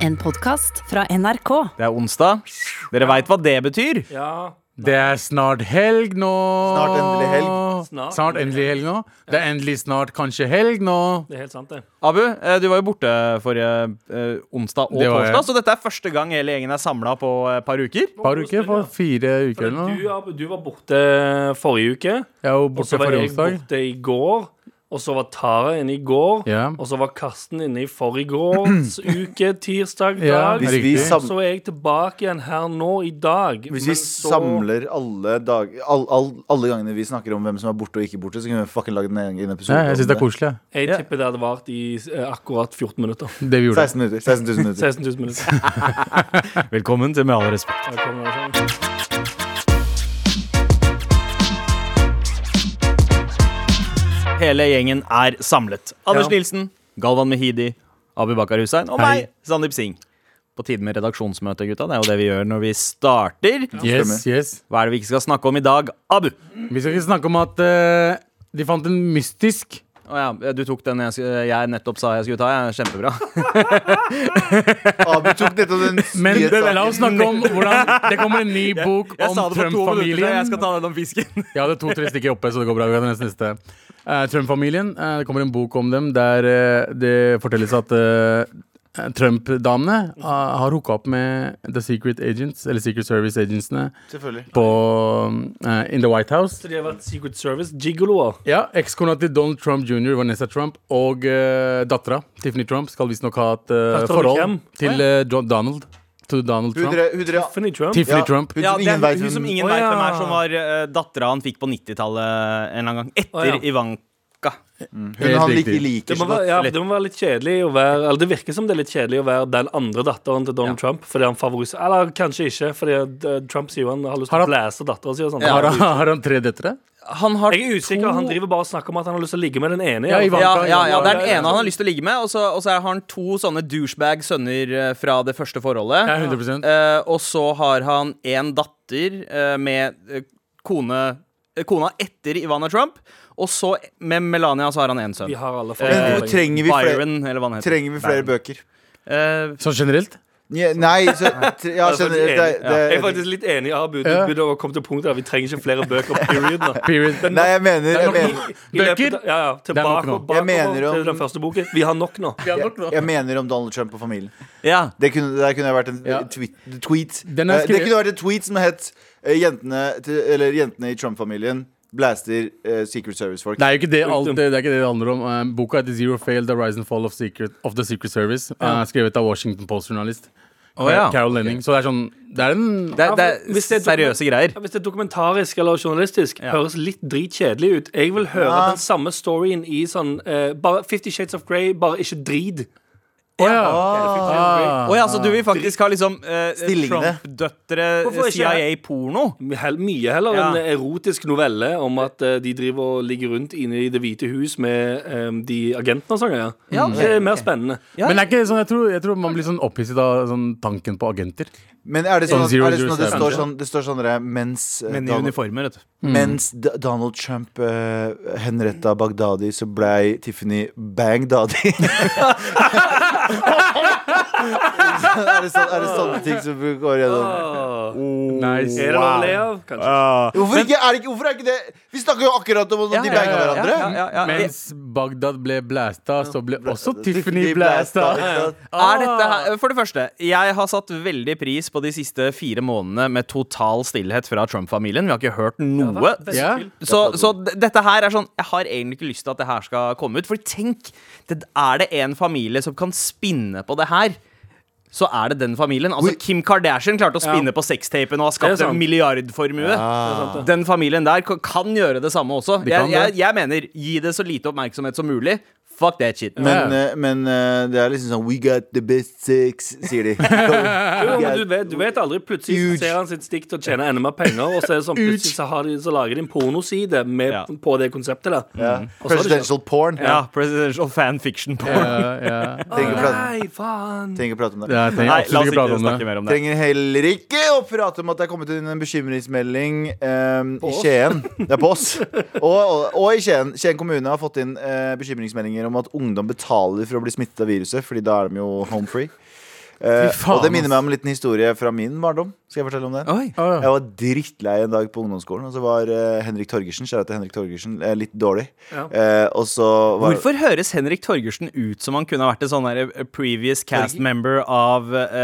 En podkast fra NRK. Det er onsdag. Dere veit hva det betyr? Ja, Det er snart helg nå. Snart endelig helg. Snart Snart, endelig helg nå. Det er endelig snart kanskje helg nå. det er helt sant, det. Abu, eh, du var jo borte forrige eh, onsdag og Det var jeg. torsdag, så dette er første gang hele gjengen er samla på et par uker. Par uker, for fire For uker eller du, noe. Abu, du var borte forrige uke, Jeg var og så borte var forrige jeg onsdag. borte i går. Og så var Tara inne i går, Ja. og så var Karsten inne i forgårs uke, tirsdag, Ja, dag. Hvis vi, Riktig. sam Så er jeg tilbake igjen her nå i dag. hvis men vi samler alle, dag all, all, alle gangene vi snakker om hvem som er borte og ikke borte, så kan vi fucking lage en egen episode. Nei, jeg syns det er om koselig. jeg. Jeg tipper det hadde vart i eh, akkurat 14 minutter. Det vi gjorde. 16 minutter. 16 000 minutter. 16 000 minutter. Velkommen til Med all respekt. Da kommer det sånn. Hele gjengen er samlet. Anders Ja. Nilsen, Galvan Mehidi, Abu Bakar Hussein og Hei. meg, Sandeep Singh. På tide med redaksjonsmøte, gutta. Det er jo det vi gjør når vi starter. Yes, yes. Hva er det vi ikke skal snakke om i dag, Abu? Vi skal ikke snakke om at eh, de fant en mystisk Å ja, du tok den jeg, sk- jeg nettopp sa jeg skulle ta. Ja, kjempebra. Abu Ah, tok nettopp den Men nyhetssaken. la oss snakke om hvordan Det kommer en ny bok Jeg om sa det for to minutter siden. Jeg Trump-familien. skal ta den om fisken. Jeg hadde to-tre stykker oppe, så det går bra. Vi kan ta neste, neste. Eh, Trump-familien. eh, det kommer en bok om dem der eh, det fortelles at eh, Trump-damene eh, har hooka opp med The Secret Agents, eller Secret Service-agentsene, Selvfølgelig. på eh, In The White House. Så de har vært Secret Service gigoloer. Ja, Ekskona til Donald Trump jr., Vanessa Trump, og uh, dattera, Tiffany Trump, skal visstnok ha et eh, Datteren til hvem? forhold til eh, John Donald. To Donald Hun Trump. dere- hun dere- Tiffany Trump. Tiffany ja, Trump. Hun Ja, som det ingen er vet hun som ingen Å, vet hvem ja. er, som var uh, dattera han fikk på 90-tallet en eller annen gang. Etter Å, ja. Ivanka. Hun han Helt ikke riktig. liker Det må, så være, godt. ja, for det må være litt kjedelig å være Eller det virker som det er litt kjedelig å være den andre datteren til Donald Trump. Fordi han favoriserer Eller kanskje ikke, fordi eh, Trump sier jo han har lyst til å Har han- blæse dattera si og sånn. Har, han- har han tre døtre? Han har Jeg er usikker. Han driver bare og snakker om at han har lyst til å ligge med den ene. i Ja, alle fall. ja, Ivanka, ja, ja, Det er ja, den ja, ene han har lyst til å ligge med, og så, og så har han to sånne douchebag sønner eh, fra det første forholdet. Ja, 100 Eh, og så har han en datter eh, med eh, kone eh, Kona etter Ivana Trump. Og så med Melania så har han én sønn. De har alle Men forhold. hvor trenger vi flere, Byron, eller hva han heter. trenger vi flere bøker? Eh, Sånn generelt? Ja, Nei, så, tre- ja, altså, Jeg er faktisk skjønner det, enig. Jeg er det, faktisk litt enig i Abu. Du Ja. begynner å komme til punktet der vi trenger ikke flere bøker. Period. nå. Period. Nei, jeg mener, jeg I- mener, i løpet Bøker? av- Ja, ja. Det er nok Tilbake nå. og Jeg mener bakover om- til den første boken. Vi har nok nå. jeg, jeg mener om Donald Trump og familien. ja. Det kunne, der kunne jeg vært en Ja. tweet, tweet. Den er Eh, Det skrevet- kunne vært en tweet som het eh, Jentene, til, eller, jentene i Trump-familien blaster eh, Secret Service-folk. Det er jo ikke det, alt, Punktum. det, det er ikke det det handler om. Eh, boka heter Zero Fail, The Rise and Fall of, Secret, of the Secret Service. eh, skrevet av Washington Post-journalist eh, Å, ja. Carol Lenning. Så det er sånn Det er en Det, er- det Ja, for er hvis det er seriøse greier. Ja, Hvis det er dokumentarisk eller journalistisk, høres litt dritkjedelig ut. Jeg vil høre Ja. den samme storyen i sånn eh, bare Fifty Shades of Grey, bare ikke drit. Å ja! Ah. Å ja, så du vil faktisk ha liksom eh, Stillingene. Trump-døtre, Hvorfor ikke? CIA-porno? Hell, mye heller Ja. en erotisk novelle om at eh, de driver og ligger rundt inne i Det hvite hus med eh, de agentene og sånn. Ja. Ja, Det er mer spennende. Men det er ikke sånn, jeg tror, jeg tror man blir sånn opphisset av sånn tanken på agenter. Men er det Sånn sånn, at- er det 007, sånn at det står kanskje? sånn, det står sånn der, mens, eh, Men i Donald, uniformer, vet du. mens D Donald Trump uh, henretta Bagdadi, så blei Tiffany Bang Daddy. er, det sånn, er det sånne ting som går gjennom? Nice. Er det noe å le av? Kanskje. Uh, Hvorfor, ikke, er det, ikke- hvorfor er ikke det Vi snakker jo akkurat om at de banga hverandre. Ja, ja, ja. Mens Bagdad ble blæsta, så ble også Tiffany Tiffany blæsta. blæsta, ikke sant? Er dette her, for det første, jeg har satt veldig pris på de siste fire månedene med total stillhet fra Trump-familien. Vi har ikke hørt noe. Ja. Så, så d- dette her er sånn Jeg har egentlig ikke lyst til at det her skal komme ut. For tenk, det, er det en familie som kan spinne på det her? Så er det den familien. Altså Kim Kardashian klarte å spinne på sextapen og har Det skapt er en sant. milliardformue. Den familien der kan, kan gjøre det samme også. Jeg, kan jeg, det. jeg mener, gi det så lite oppmerksomhet som mulig. Fuck that shit. Men, eh, men eh, det er liksom sånn We got the best sex, sier de. Jo, men du We got- vet, du vet aldri. Plutselig Huge. ser han sitt stikk til å tjene enda mer penger, og så, er det sånn, plutselig så, har de, så lager de en pornoside med, Ja. på det konseptet der. Ja. Mm. Og så er det sånn- ikke- Presidential porn. Ja, presidential fanfiction porn. Ja, ja. Trenger ikke prate, Nei, faen! trenger ikke prate om det. Jeg trenger Nei, la absolutt oss ikke ikke prate om snakke det. mer om det. Trenger heller ikke å prate om at det er kommet inn en bekymringsmelding eh, i oss. Skien. Det er på oss. Og, og, og i Skien. Skien kommune har fått inn eh, bekymringsmeldinger om at ungdom betaler for å bli smittet av viruset, Fordi da er de jo home free. Eh, Fy faen, og det minner ass. meg om en liten historie fra min barndom. Skal jeg fortelle om den? Oi. Å, Jeg var drittlei en dag på ungdomsskolen, og så var eh, Henrik Torgersen kjære til Henrik Torgersen, eh, litt dårlig. Ja. Eh, og så var Hvorfor høres Henrik Torgersen ut som han kunne ha vært en sånn der, eh, previous cast Torger- member av eh,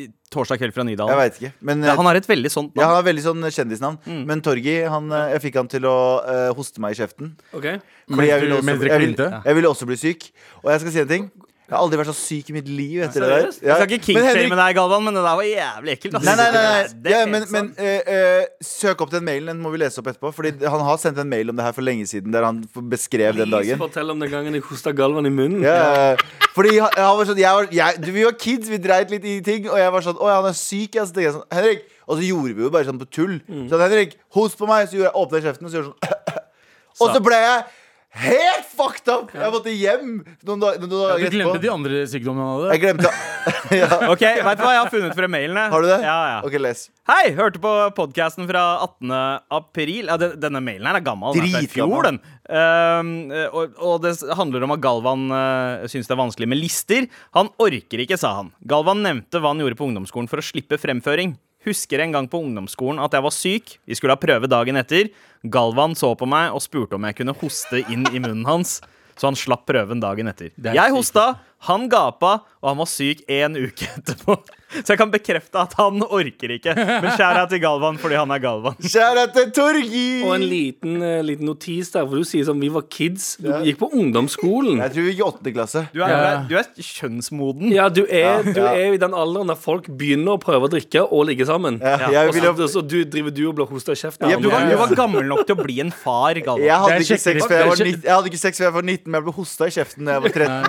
eh, Torsdag kveld fra Jeg Nydalen? veit ikke. Men Ja, han Mm. har et veldig sånt ja, navn. han har veldig sånn kjendisnavn. Men Torgi, han, eh, jeg fikk han til å eh, hoste meg i kjeften. Ok. Fordi jeg ville, du- også, mens dere jeg, ville, klinte? jeg ville også bli syk. Og jeg skal si en ting. Jeg har aldri vært så syk i mitt liv etter det der. Seriøst? Ja. Jeg skal ikke Men Henrik- kinkshame deg, Galvan, men det der var jævlig ekkelt. ass. Nei, nei, nei, Det nei. er Ja, helt men, men sant. eh, eh, søk opp den mailen. Den må vi lese opp etterpå. Fordi han har sendt en mail om det her for lenge siden, der han beskrev den Please, dagen. Fortell om den gangen jeg hosta Galvan i munnen. Ja, ja, ja. fordi han, han var sånn jeg var, jeg, du, Vi var kids, vi dreit litt i ting, og jeg var sånn Å, ja, han er syk. Ja. Så tenkte jeg sånn Henrik Og så gjorde vi jo bare sånn på tull. Så Henrik, host på meg. Så gjorde jeg åpna kjeften, og så gjorde jeg sånn Og så ble jeg helt fucked up! Jeg måtte hjem noen, dag, noen dager Du etterpå. glemte de andre sykdommene han hadde? Jeg glemte ja. Ok, Vet du hva jeg har funnet fra mailene? Har du det? Ja, ja. Ok, les. Hei! Hørte på podkasten fra 18. april. Ja, den- denne mailen her er gammel. Den er fra i fjor, den. Ehm, og, og det handler om at Galvan uh, syns det er vanskelig med lister. Han orker ikke, sa han. Galvan nevnte hva han gjorde på ungdomsskolen for å slippe fremføring. Husker en gang på ungdomsskolen at jeg var syk. Vi skulle ha prøve dagen etter. Galvan så på meg og spurte om jeg kunne hoste inn i munnen hans. Så han slapp prøven dagen etter. er Jeg sykt. hosta, han gapa, og han var syk en uke etterpå. Så jeg kan bekrefte at han orker ikke. Men skjæra til Galvan fordi han er Galvan. Kjære til Torgi! Og en liten, eh, liten notis der, for du sier sånn Vi var kids. Du gikk på ungdomsskolen. Jeg tror vi gikk i åttende klasse. Du er, Ja. du er kjønnsmoden. Ja, du er, du ja. er i den alderen der folk begynner å prøve å drikke og ligge sammen. Ja, jeg Og ville- så, så du driver du og blir hosta i kjeften. Ja, av Du var, andre. du var gammel nok til å bli en far, Jeg Galvan. hadde, Det er ikke sex kjekkere- før jeg, var det er kjek- nitt- jeg hadde ikke sex før jeg var 19, men jeg ble hosta i kjeften da jeg var 13.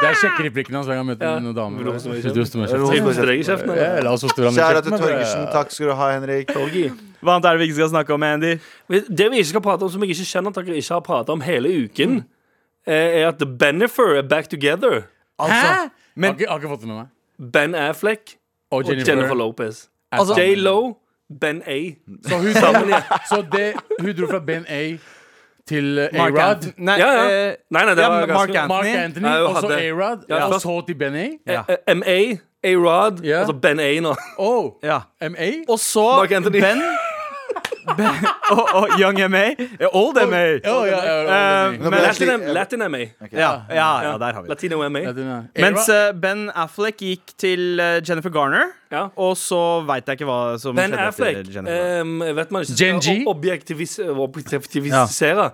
Det er kjekke replikken hans hver gang jeg møter noen damer. Vil du hoste meg i Vil du hoste meg i Vil du kjeften? hoste- Hoste deg i kjeften, eller? Ja, La oss hoste hverandre i Kjære til kjeften, da. Torgersen. Takk skal du ha, Henrik. Torgi. Hva annet er det vi ikke skal snakke om, Andy? Det vi ikke skal prate om, som jeg ikke kjenner at dere ikke har pratet om hele Mm. uken, eh, er at The Benefer er back together. Hæ? Altså, Men- Har ikke, har ikke fått det med meg. Ben Affleck Og og Jennifer. Jennifer Lopez. er sammen. J.Lo, Ben A. så hun, sammen, så det, hun dro fra Ben A til eh, Mark A-Rod. Ant- Nei, Ja, ja. eh, Nei, nei, det ja, var ganske- Mark Mark Anthony. Anthony, Ja, hun og så hadde- A-Rod, Ja. og så til Ben A. Ja. Eh, M.A. A-Rod. Ja. Altså Ben A nå. Oh, Ja. MA? Og så Mark Anthony. Ben. ben og, og Young MA. Eh, Old MA. Oh, ja, ja, Eh, ja, Nå ble men- jeg slik- Latin, Latin MA. Ja, ja, ja, der har vi det. Latino MA. ja, den er- Mens A-Rod- eh, Ben Affleck gikk til eh, Jennifer Garner, Ja. og så veit jeg ikke hva som Ben skjedde Affleck etter Jennifer. Garner. ehm, vet man ikke Gen skal G? ob- objektivis objektivisere.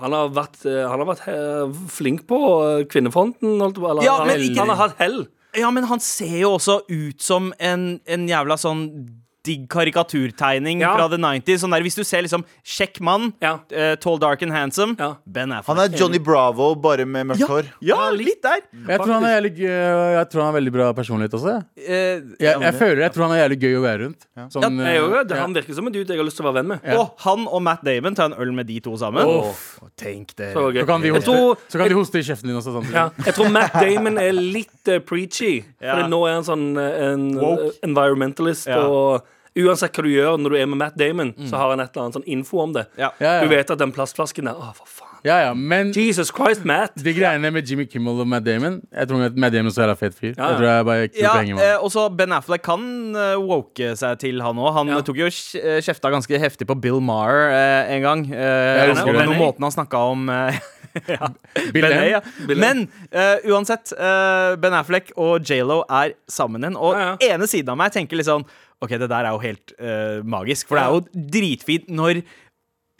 Han har vært, eh, han har vært eh, flink på eh, kvinnefronten. Holdt, på- eller, Ja, han, men har- ikke- han har hatt hell. ja, men han ser jo også ut som en, en jævla sånn digg karikaturtegning Ja. fra the 90s. Sånn der, hvis du ser liksom Kjekk mann, Ja. eh, tall, dark and handsome. Ja. Ben Affleck. Han er Johnny Bravo, bare med mørkt hår. ja, litt der. Jeg tror han er jævlig gøy, Jeg tror han har veldig bra personlighet også. Jeg, Eh, jeg, jeg føler jeg tror han er jævlig gøy å være rundt. Sånn, Jeg, er jo- eh, det, han virker som en dude jeg har lyst til å være venn med. Og han og Matt Damon tar en øl med de to sammen. Uff. Åh, tenk det. Så gøy. Så kan de jeg hoste, tror, så kan de hoste i kjeften din også. sånn. samtidig. ja, jeg tror Matt Damon er litt eh, preachy. Ja. For nå er han sånn eh, en Woke. eh, environmentalist. Ja. Mm. Og uansett hva du gjør når du er med Matt Damon, så har han et eller annet sånn info om det. Ja. Ja, ja. Du vet at den plastflasken der Å, for faen. Ja, ja, men Jesus Christ, Matt. de greiene med Jimmy Kimmel og Matt Damon Jeg tror at Matt Damon så jævla fet fyr. Ja, ja. Jeg tror jeg bare kult Ja, å henge med eh, han. og så Ben Affleck kan eh, woke seg til, han òg. Han Ja. tok jo kj- eh, kjefta ganske heftig på Bill Maher eh, en gang. Eh, Jeg og husker og det. den måten han snakka om eh, ja, Bill Ben, A, Hader. ja. Men eh, uansett, eh, Ben Affleck og J.Lo er sammen igjen. Og Ja, ene siden av meg tenker litt sånn OK, det der er jo helt eh, magisk. For det er jo dritfint når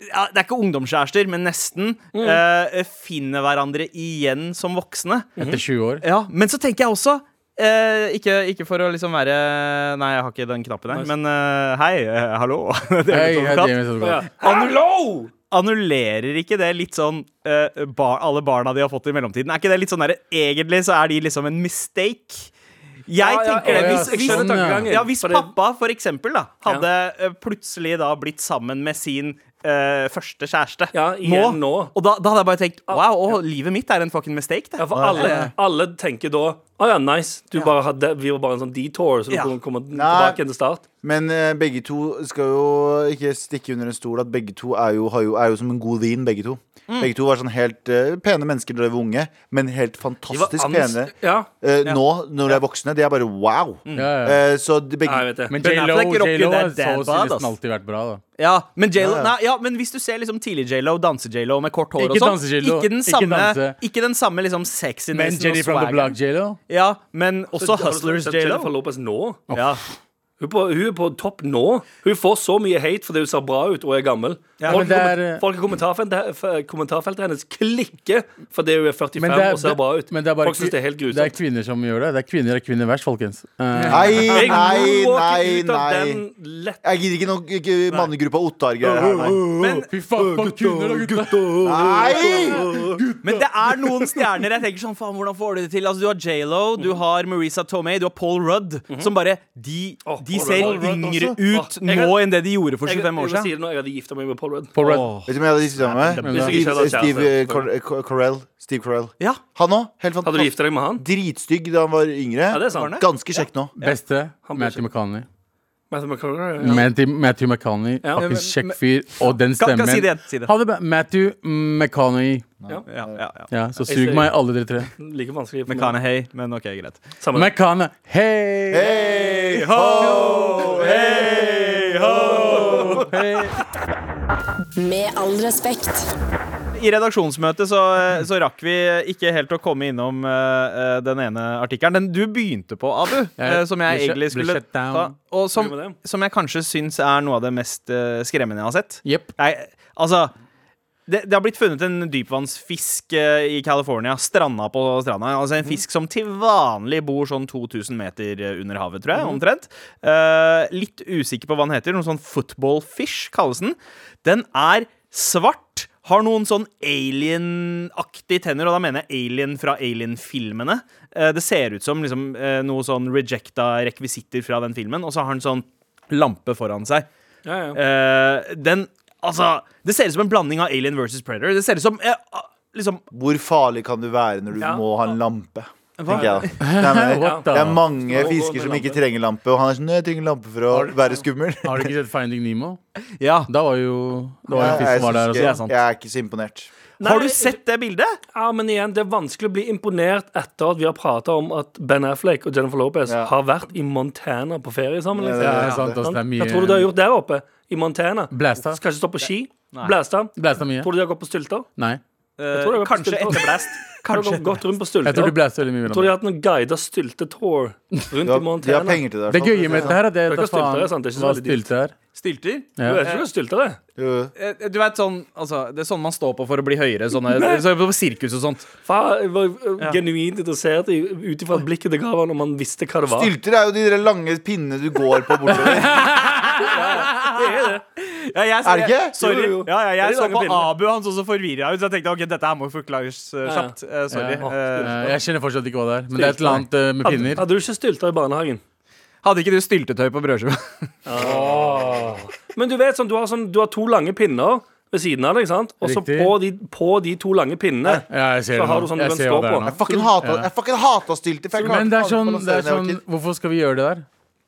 ja, det er ikke ungdomskjærester, men nesten. eh, finner hverandre igjen som voksne. Mm. Etter 20 år. Ja, men så tenker jeg også eh, ikke, ikke for å liksom være Nei, jeg har ikke den knappen her, men eh, hei, eh, hallo. det er Hei, litt sånn hei, advokat. James Advokat. Ah, Hallo! Annullerer ikke det litt sånn eh, bar, alle barna de har fått i mellomtiden? Er ikke det litt sånn der, Egentlig så er de liksom en mistake. Jeg ja, tenker det. ja, ja, Hvis, jeg hvis, skjønner tankegangen. ja, hvis Fordi- pappa for eksempel da hadde eh, plutselig da blitt sammen med sin eh, første kjæreste. Ja, igjen nå. Og da, da hadde jeg bare tenkt wow, å, livet mitt er en fucking mistake. Det. Ja, for alle, alle tenker da Å ja, nice. Du bare hadde, vi var bare en sånn detour, så du Ja. kunne komme tilbake igjen til start. Men eh, begge to skal jo ikke stikke under en stol at begge to er jo, har jo, er jo som en god vin, begge to. Begge to var sånn helt eh, pene mennesker da de var unge, men helt fantastisk ans- pene. Ja. Eh, Nå, når de er voksne, de er bare wow. Ja, ja. Eh, så de Nei, jeg begge vet det. Men Ben J.Lo Affleck rocker J.Lo har that dad så å si bod, nesten ass. alltid vært bra, da. Ja, men, J.Lo- Ja, ja. Nei, ja, men hvis du ser liksom tidlig J.Lo, danse-J.Lo med kort hår Ikke og sånn, danse-J.Lo, ikke den ikke samme, danse. ikke den samme liksom sexinessen Men Jenny og from the swaggeren. block, J.Lo. Ja, men også Har du Hustlers sett Jennifer J.Lo. Lopez nå. Ja. Hun, er på, hun er på topp nå. Hun får så mye hate fordi hun ser bra ut og er gammel. men folk, i det er- kommen- folk i kommentarfeltet, f- kommentarfeltet hennes klikker fordi hun er 45 Men det er- og ser bra ut. men det er bare folk syns det er helt Det er grusomt. kvinner som gjør det. Det er kvinner er kvinner verst, folkens. Eh, Nei, Jeg nei, nei, walker ut av nei. den lett. Jeg gidder ikke noe ikke mannegruppa Ottar-greier her, nei. Men, Fy faen, for kvinner og gutter! Nei! men det er noen stjerner jeg tenker sånn Faen, hvordan får du det til? Altså, du har J.Lo, du Mm. har Marisa Tomei, du har Paul Rudd, som bare De, Mhm. Åh, de Paul ser Rudd. Paul Rudd yngre også. ut Åh, jeg nå har- enn det de gjorde for Jeg, jeg, 25 år må si siden. det nå, jeg hadde gifta meg med Paul Rudd. Paul Rudd. Åh. Vet du hvem jeg hadde giftet meg med? Hvis jeg ikke Steve, hadde Steve eh, kjæreste. Cor Cor- Corell. Steve Corell. Ja. Han òg. Helt Hadde du fantastisk. gifta deg med han? Dritstygg da han var yngre. Ja, det er sant. Ganske kjekk nå. Beste Han blir Matthew McCanney. Matthew McConaughey, ja. Matthew, Matthew McCanney, Ja. fucking kjekk fyr. Og den Kan- stemmen. kan si det igjen, si det. Ha det bra. Matthew McCanney. Ja, ja, ja. Ja, så Jeg sug ser- meg, alle dere tre. Like vanskelig. for meg. McConaughey, men OK, greit. Samme det. McCanney. Hei! Hey, ho, hey, ho. Med all respekt. I redaksjonsmøtet så, eh, så rakk vi ikke helt å komme innom eh, eh, den ene artikkelen. Den du begynte på, Abu, eh, som jeg ble shut- egentlig ble skulle shut down. ta. Og som, Hva med det? som jeg kanskje syns er noe av det mest eh, skremmende jeg har sett. Jepp. Nei, altså det, det har blitt funnet en dypvannsfisk eh, i California. Stranda på stranda. Altså En fisk som til vanlig bor sånn 2000 meter eh, under havet, tror jeg. omtrent Eh, Litt usikker på hva den heter. Noe sånn football fish kalles den. Den er svart. Har noen sånn alien-aktige tenner, og da mener jeg alien fra alien-filmene. Eh, det ser ut som liksom, eh, noe sånn rejecta rekvisitter fra den filmen, og så har den sånn lampe foran seg. Ja, ja. Eh, den Altså, det ser ut som en blanding av Alien versus Predator. Det ser ut som eh, ah, liksom Hvor farlig kan du være når du Ja. må ha en lampe? Tenker Ja. jeg da. Nei, men, What the- det er mange Skal gå fisker med som ikke lampe. trenger lampe, og han er sånn «Nei, Jeg trenger lampe for å være skummel. Har du ikke sett Finding Nemo? Ja. Da var jo Det var jo en Jeg- fisk jeg som var der syns også. Det er ikke- sant. Jeg er ikke så imponert. Nei, Har du sett det bildet? Ja, men igjen, Det er vanskelig å bli imponert etter at vi har prata om at Ben Affleck og Jennifer Lopez Ja. har vært i Montana på ferie sammen. liksom. Ja, Ja, det er sant, ass. Det er Hva tror du de har mye gjort der oppe? I Montana? Blæsta. Skal ikke stå på ski? Blæsta? Blæsta mye. Tror du de har gått på stylter? Nei. Eh, tror det var på kanskje stylter. etter Blast. Har de Kanskje. gått- gått rundt på stylter? Jeg tror de blæsta veldig mye. Tror de hverandre. har hatt noen guida styltetour rundt i Du har, de har Montana? penger til det. i hvert Det fall. gøye med dette her er at Det jeg er tar ikke stylter, det er faen sant, det er ikke så hva veldig dyrt. stilte er. Stilter? Du Ja. vet ikke hva stylter er? Jo, jo. Eh, Du vet sånn altså, Det er sånn man står på for å bli høyere. Sånne, så på sirkus og sånt. Faen, jeg var eh, genuint interessert i ut ifra blikket det ga han, om han visste hva det var. Stylter er jo de der lange pinnene du går på bortover. Ja, jeg, Er det ikke? Sorry. Jo, jo. Ja, ja, Det jeg er så de på lange bildene. Abu, han så så forvirra ut, så jeg tenkte ok, dette her må forklares eh, Ja, ja. kjapt. Eh, sorry. Ja. Eh, Eh, Jeg kjenner fortsatt ikke hva det er, men det er et eller annet eh, med Hadde, pinner. hadde du ikke stylter i barnehagen? hadde ikke du styltetøy på brødskiva? Men du vet sånn, du har, sånn, du har to lange pinner ved siden av deg, ikke sant? Og så Riktig. på de, på de to lange pinnene Ja, jeg så ser det har nå. du sånn du Jeg kan ser stå hva det er på. nå. Jeg fucking hata, jeg fucking hata stylter. For jeg klarte Men det er faen ikke å sånn, det balansere er da jeg var sånn kid. Hvorfor skal vi gjøre det der?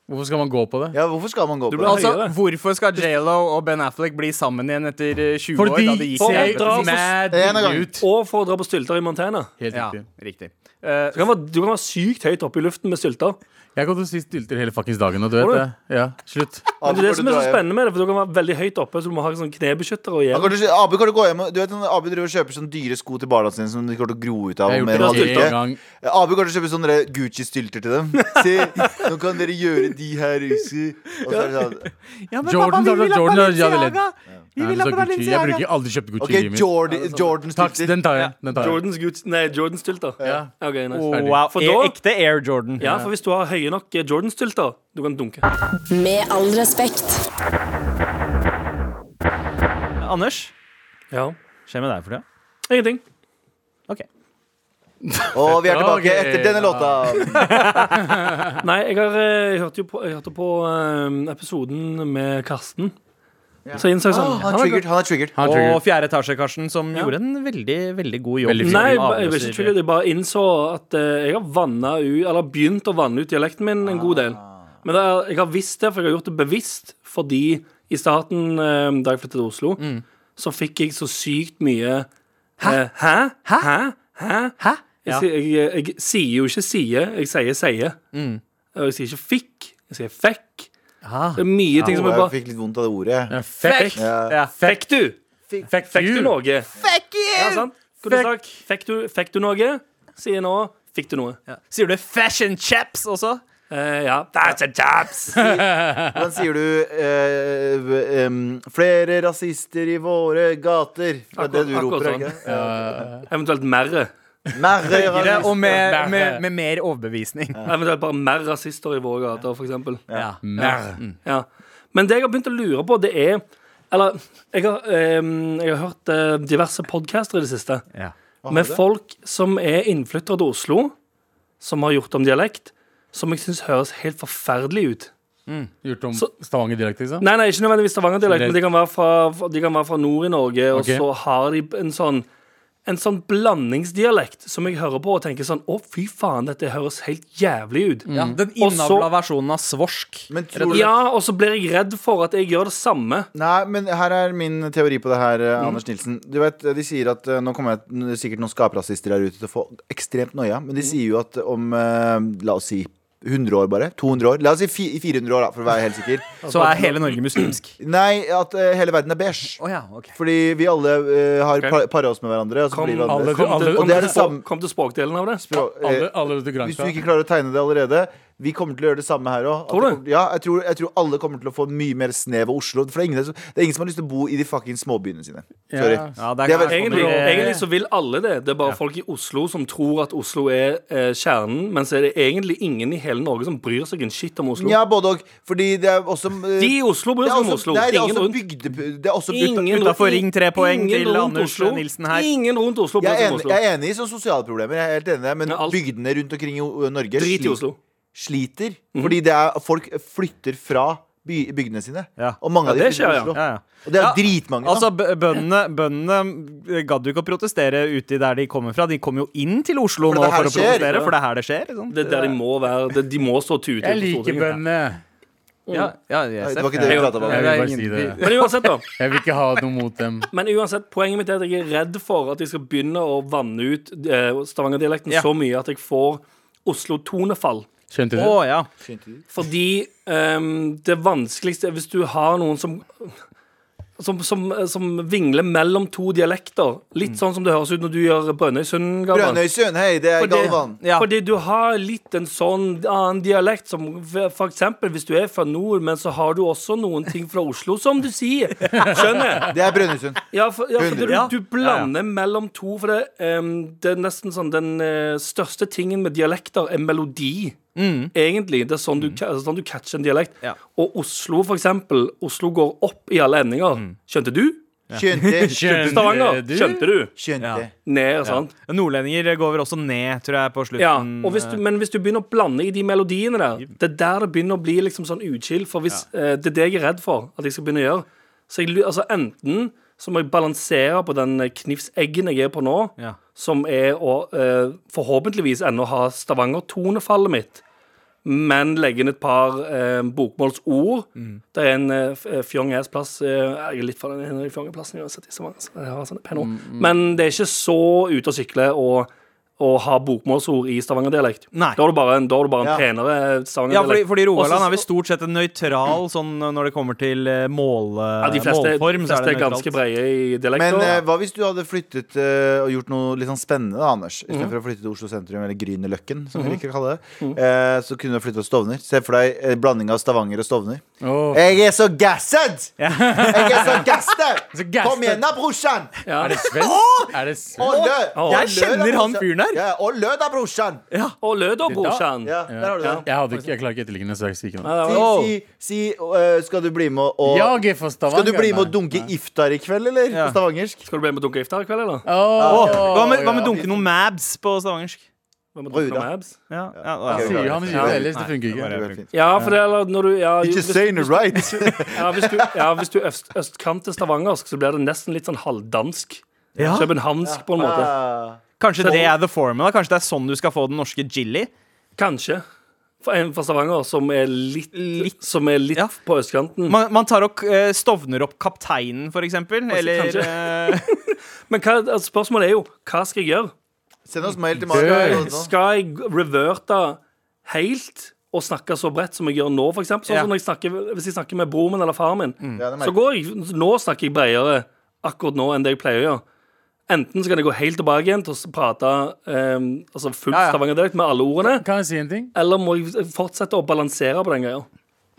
Hvorfor skal man gå på det? Ja, hvorfor skal man gå på ble det? høy. Altså, høyere. hvorfor skal J.Lo og Ben Affleck bli sammen igjen etter eh, 20 år? Da de Fordi gikk ser i ser dra for- mad En gang. ut. Og for å dra på stylter i Montana. Helt Ja, riktig. riktig. Eh, Du kan være, du kan være sykt høyt oppe i luften med stylter. Jeg kommer til å si stilter hele fuckings dagen, og du Har vet du? det. Ja, slutt. Men det er Abu, det kan som er dra så hjem? spennende med det, for du kan være veldig høyt oppe, så du må ha sånn knebeskytter og Ja, hjelm. kan du, si- Abu, kan du gå hjem og, Du vet han- Abu driver og kjøper sånne dyre sko til barna sine som de kommer til å gro ut av. Jeg om har en gjort halv det uke. en gang. Eh, Abu kan du kjøpe sånne der Gucci-stylter til dem. Se, nå kan dere gjøre de her huset. Og så er det sånn ja, men Jordan, pappa, da, vi vil ha Jordan, ja, de hadde Balenciaga! Vi Nei, vil ha men så Gucci. Jeg Balenciaga! bruker aldri kjøpt OK, Gucci-limer. Jordi- Takk, Jordan-stylter. den tar jeg. Den tar jeg. Jordans Gucci- Nei, Jordan-stylter. Ja. Ok, nice. Ferdig. Wow, For e da- ekte Air Jordan. Ja, for hvis du har høye nok eh, Jordan-stylter, du kan dunke. Med all respekt. Anders, Ja. skjer med deg for tida? Ingenting. Ok. Og vi er tilbake Ok, etter denne ja. låta. Nei, jeg har eh, jeg hørte jo på, jeg hørte på eh, episoden med Karsten. Så jeg innså jeg sånn Ah, han er triggered. Han er triggered. Han er Og triggered. fjerde etasje, Karsten, som gjorde en veldig veldig god jobb. Veldig fin. Som Nei, ba- jeg var avløser- ikke triggered. Jeg bare innså at eh, jeg har vanna ut Eller begynt å vanne ut dialekten min en god del. Men det er, jeg har visst det, for jeg har gjort det bevisst, fordi i starten, eh, da jeg flyttet til Oslo, så fikk jeg så sykt mye Mm. Hæ? Hæ? Hæ? Hæ? Hæ? Jeg, Ja. sier- jeg, jeg sier jo ikke 'sie', jeg sier 'sie'. Og jeg sier ikke 'fikk', jeg sier 'fekk'. Ah. Det er mye ting som Åh, er bare jeg fikk litt vondt av det ordet. Ja, Fuck. Ja. Fikk du? Fikk, du you. noe? Fikk Ja, sant? Kunne Fikk. sagt, fikk, du, fikk du noe? Sier nå fikk du noe. Ja. Sier du 'fashion chaps' også? Eh, ja. Hvordan sier du eh, v- em, 'flere rasister i våre gater'? Det er det du Akkurat- roper, akkurat er det ikke? Eventuelt merre. Mer Høyere og rasister. med, Ja. med, med mer overbevisning. Eventuelt bare mer rasister i våre gater, for eksempel. Ja. Mer. Ja. Men det jeg har begynt å lure på, det er Eller jeg har, ehm, jeg har hørt eh, diverse podcaster i det siste Ja. med folk som er innflyttere til Oslo, som har gjort om dialekt, som jeg syns høres helt forferdelig ut. Gjort om Så- Stavanger direkte, liksom? Nei, nei, ikke nødvendigvis Stavanger-dialekt, men Generelt. de kan være fra, de kan være fra nord i Norge, og Ok. så har de en sånn en sånn blandingsdialekt som jeg hører på og tenker sånn Å, fy faen, dette høres helt jævlig Mm. ut. Ja, den Og så- innavla versjonen av svorsk. Men tror du Ja, og så blir jeg redd for at jeg gjør det samme. Nei, men her er min teori på det her, eh, Anders Nilsen. Du vet, De sier at eh, Nå kommer jeg, n- sikkert noen skaprasister der ute til å få ekstremt noia, men de sier jo at om eh, La oss si 100 år, bare. 200 år. La oss si fi- 400 år, da, for å være helt sikker. Så er hele Norge muslimsk. Nei, at eh, hele verden er beige. Å ja, ok Fordi vi alle eh, har Ok. okay. para oss med hverandre. Og så Kom, blir vi alle- annerledes. kom, alle- til, og kom, det er til, det språk, samme- kom til språkdelen av det. Språ- eh, Alle, alle til Hvis du Granstad. ikke klarer å tegne det allerede Vi kommer til å gjøre det samme her òg. Tror du? Ja, jeg tror, jeg tror alle kommer til å få mye mer snev av Oslo. For det er ingen, som- det er ingen som har lyst til å bo i de fucking småbyene sine. Sorry. Ja. Ja, der Det er kan- vel- Egentlig, kommer det- sånn. egentlig så vil alle det. Det er bare folk i Oslo som tror at Oslo er eh, kjernen, men så er det egentlig ingen i hele Norge som bryr seg en shit om Oslo. Mm, Ja, både og. Fordi det er også eh, De i Oslo bryr det er seg om også- Oslo. Nei, det er altså ingen også rundt. bygde... Det er også ut- Ingen rundt- utenfor Ring tre poeng ingen til rundt Anders Nilsen her. Ingen rundt Oslo. jeg, bare er som enig, Oslo. jeg er enig i sånne sosiale problemer, jeg er helt enig, i det, men Ja, alt- bygdene rundt omkring i O- Norge Drit i sli- Oslo. Mhm. sliter. Fordi det er, folk flytter fra by, bygdene sine. Ja. Og mange av Ja, de det flytter skjer, til ja. Oslo. Ja, ja. Og det er Ja, dritmange. da. Altså, b- bøndene, bøndene gadd jo ikke å protestere uti der de kommer fra. De kom jo inn til Oslo For det nå er her for å det skjer. protestere, for det er her det skjer. ikke sant? Det er der de må være. Det, de må stå tute. Jeg på liker Stortinget. bøndene. Ja, ja, jeg ser. Nei, det var ikke det vi Ja. pratet Jeg om. vil det er bare si ingen- det. Men uansett, da. Jeg vil ikke ha noe mot dem. Men uansett, poenget mitt er at jeg er redd for at jeg skal begynne å vanne ut eh, Stavanger-dialekten Ja. så mye at jeg får Oslo-tonefall. Skjønte du? Å ja. Fordi ehm, det vanskeligste er hvis du har noen som som, som, som vingler mellom to dialekter. Mm. Litt sånn som det høres ut når du gjør Brønnøysund. Galvan. Brønnøysund, hei, det er Galvan. Ja. Fordi du har litt en sånn annen dialekt som for eksempel hvis du er fra nord, men så har du også noen ting fra Oslo, som du sier. Skjønner? Det er Brønnøysund. Ja, for, ja, fordi Ja. du, du blander mellom to, for det, em, det er nesten sånn Den eh, største tingen med dialekter er melodi. Mm. Egentlig. Det er sånn du, ca- sånn du catcher en dialekt. Ja. Og Oslo, for eksempel. Oslo går opp i alle endinger. Skjønte du? Skjønte. Mm. Skjønte Stavanger, du? skjønte du? Skjønte. Ned, sant? Nordlendinger går vel også ned, tror jeg, på Ja, slutten. Mm. og hvis du, Men hvis du begynner å blande i de melodiene der, det er der det begynner å bli liksom sånn utskill. For hvis, eh, det er det jeg er redd for at jeg skal begynne å gjøre. Så jeg, lu- altså Enten så må jeg balansere på den eh, knivseggen jeg er på nå, Ja. som er å eh, forhåpentligvis ennå ha Stavanger-tonefallet mitt, men legge inn et par eh, bokmålsord. Mm. Det er en eh, f- eh, fjong ass-plass eh, Jeg er litt for den fjongeplassen uansett. i Stavanger, så jeg har sånne pene Mm, ord. Men det er ikke så ute å sykle å å ha bokmålsord i stavangerdialekt. Da Nei. er du bare en, da er du bare en Ja. penere Ja, fordi, stavangerdialekt. fordi Rogaland Også- er vel stort sett en nøytral sånn når det kommer til eh, mål, ja, de fleste, målform. så fleste er det nøytralt. ganske breie i Men dialekter. eh, hva hvis du hadde flyttet eh, og gjort noe litt sånn spennende, da, Anders? Istedenfor å flytte til Oslo sentrum, eller Grünerløkken, som vi liker å kalle det. eh, så kunne du flytte til Stovner. Se for deg eh, blanding av Stavanger og Stovner. Åh. Jeg er så gassed! Jeg er så gassed! gassed. Kom igjen da, brorsan! Ja. Er det svensk? Er det Og svensk? lø! Jeg kjenner han fyren der. Ja, og lø da, brorsan! Ah, Og lød og brorsan. Ja, der har du det. Jeg hadde ikke, jeg klarer ikke etterligne, så jeg sier ikke noe. Si, Åh. si, si eh, skal du bli med og Jeg er fra Stavanger. Skal du bli med og nei. dunke iftar i kveld, eller? Ja. På stavangersk? Skal du bli med og dunke iftar i kveld, eller? Åh, Hva med, hva med ja. dunke noen mabs på stavangersk? Vi må Oi, drikke da. med abs. Ja, ja, Ok, ja. Sier han sier det ellers, det funker Nei, ikke. det Det var går fint. Ja, for det, eller når du ja, jo, Ikke hvis, saying it right. ja, hvis du, ja, hvis du er øst, østkant til stavangersk, så blir det nesten litt sånn halvdansk. Ja. Københavnsk, på en måte. Ah. Kanskje det er the formula? Kanskje det er sånn du skal få den norske chili? Kanskje. For en fra Stavanger som er litt, Litt. Som er litt Ja. på østkanten. Man, man tar og eh, stovner opp kapteinen, for eksempel. Eller eh, Men hva, altså, spørsmålet er jo hva skal jeg gjøre? Send oss mail til Død. Mario. Skal jeg reverte helt og snakke så bredt som jeg gjør nå, f.eks.? Sånn Ja. Mm. som når jeg snakker, hvis jeg snakker med broren min eller faren min, Ja, det merker så går jeg Nå snakker jeg bredere akkurat nå enn det jeg pleier å gjøre. Enten så kan jeg gå helt tilbake igjen til å prate um, altså full Ja, ja. stavangerdialekt med alle ordene, Kan jeg si en ting? eller må jeg fortsette å balansere på den greia?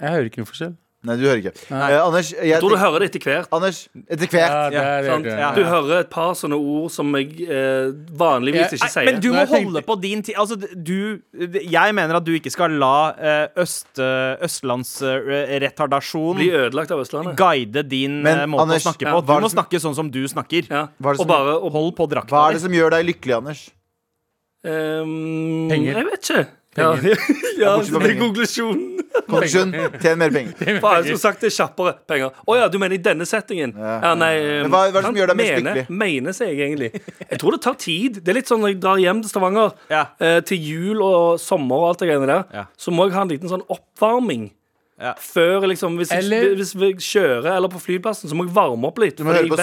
Jeg hører ikke noe forskjell. Nei, du hører ikke. Eh, Anders, jeg, Jeg tror du tenk- hører det etter hvert. Anders, etter hvert det er, Sant? det er- Du hører et par sånne ord som jeg eh, vanligvis Jeg- ikke Nei, sier. men du Når må jeg tenkte- holde på din tid. Altså, du Jeg mener at du ikke skal la eh, øst, østlandsretardasjon Blir ødelagt av Østlandet. guide din Men, eh, måte Anders, å snakke ja, på. hva Du er må det som- snakke sånn som du snakker. Ja. Hva er Og det som- bare og, Hold på drakta Hva er di. det som gjør deg lykkelig, Anders? ehm, Penger. Jeg vet ikke. Ja, ja bortsett fra det er penger. konklusjonen. Konklusjon, tjen mer penger. Faen, jeg skulle sagt det kjappere. Penger. Å ja, du mener i denne settingen? Ja. Ja, nei um, Men hva- hva er det som sant? gjør deg mest Mener- lykkelig? Mener seg egentlig. Jeg tror det tar tid. Det er litt sånn når jeg drar hjem til Stavanger Ja. eh, til jul og sommer og alt det greiene der, Ja. så må jeg ha en liten sånn oppvarming. Ja. Før liksom Hvis jeg, Eller- hvis jeg kjører eller på flyplassen, så må jeg varme opp litt. Du må høre på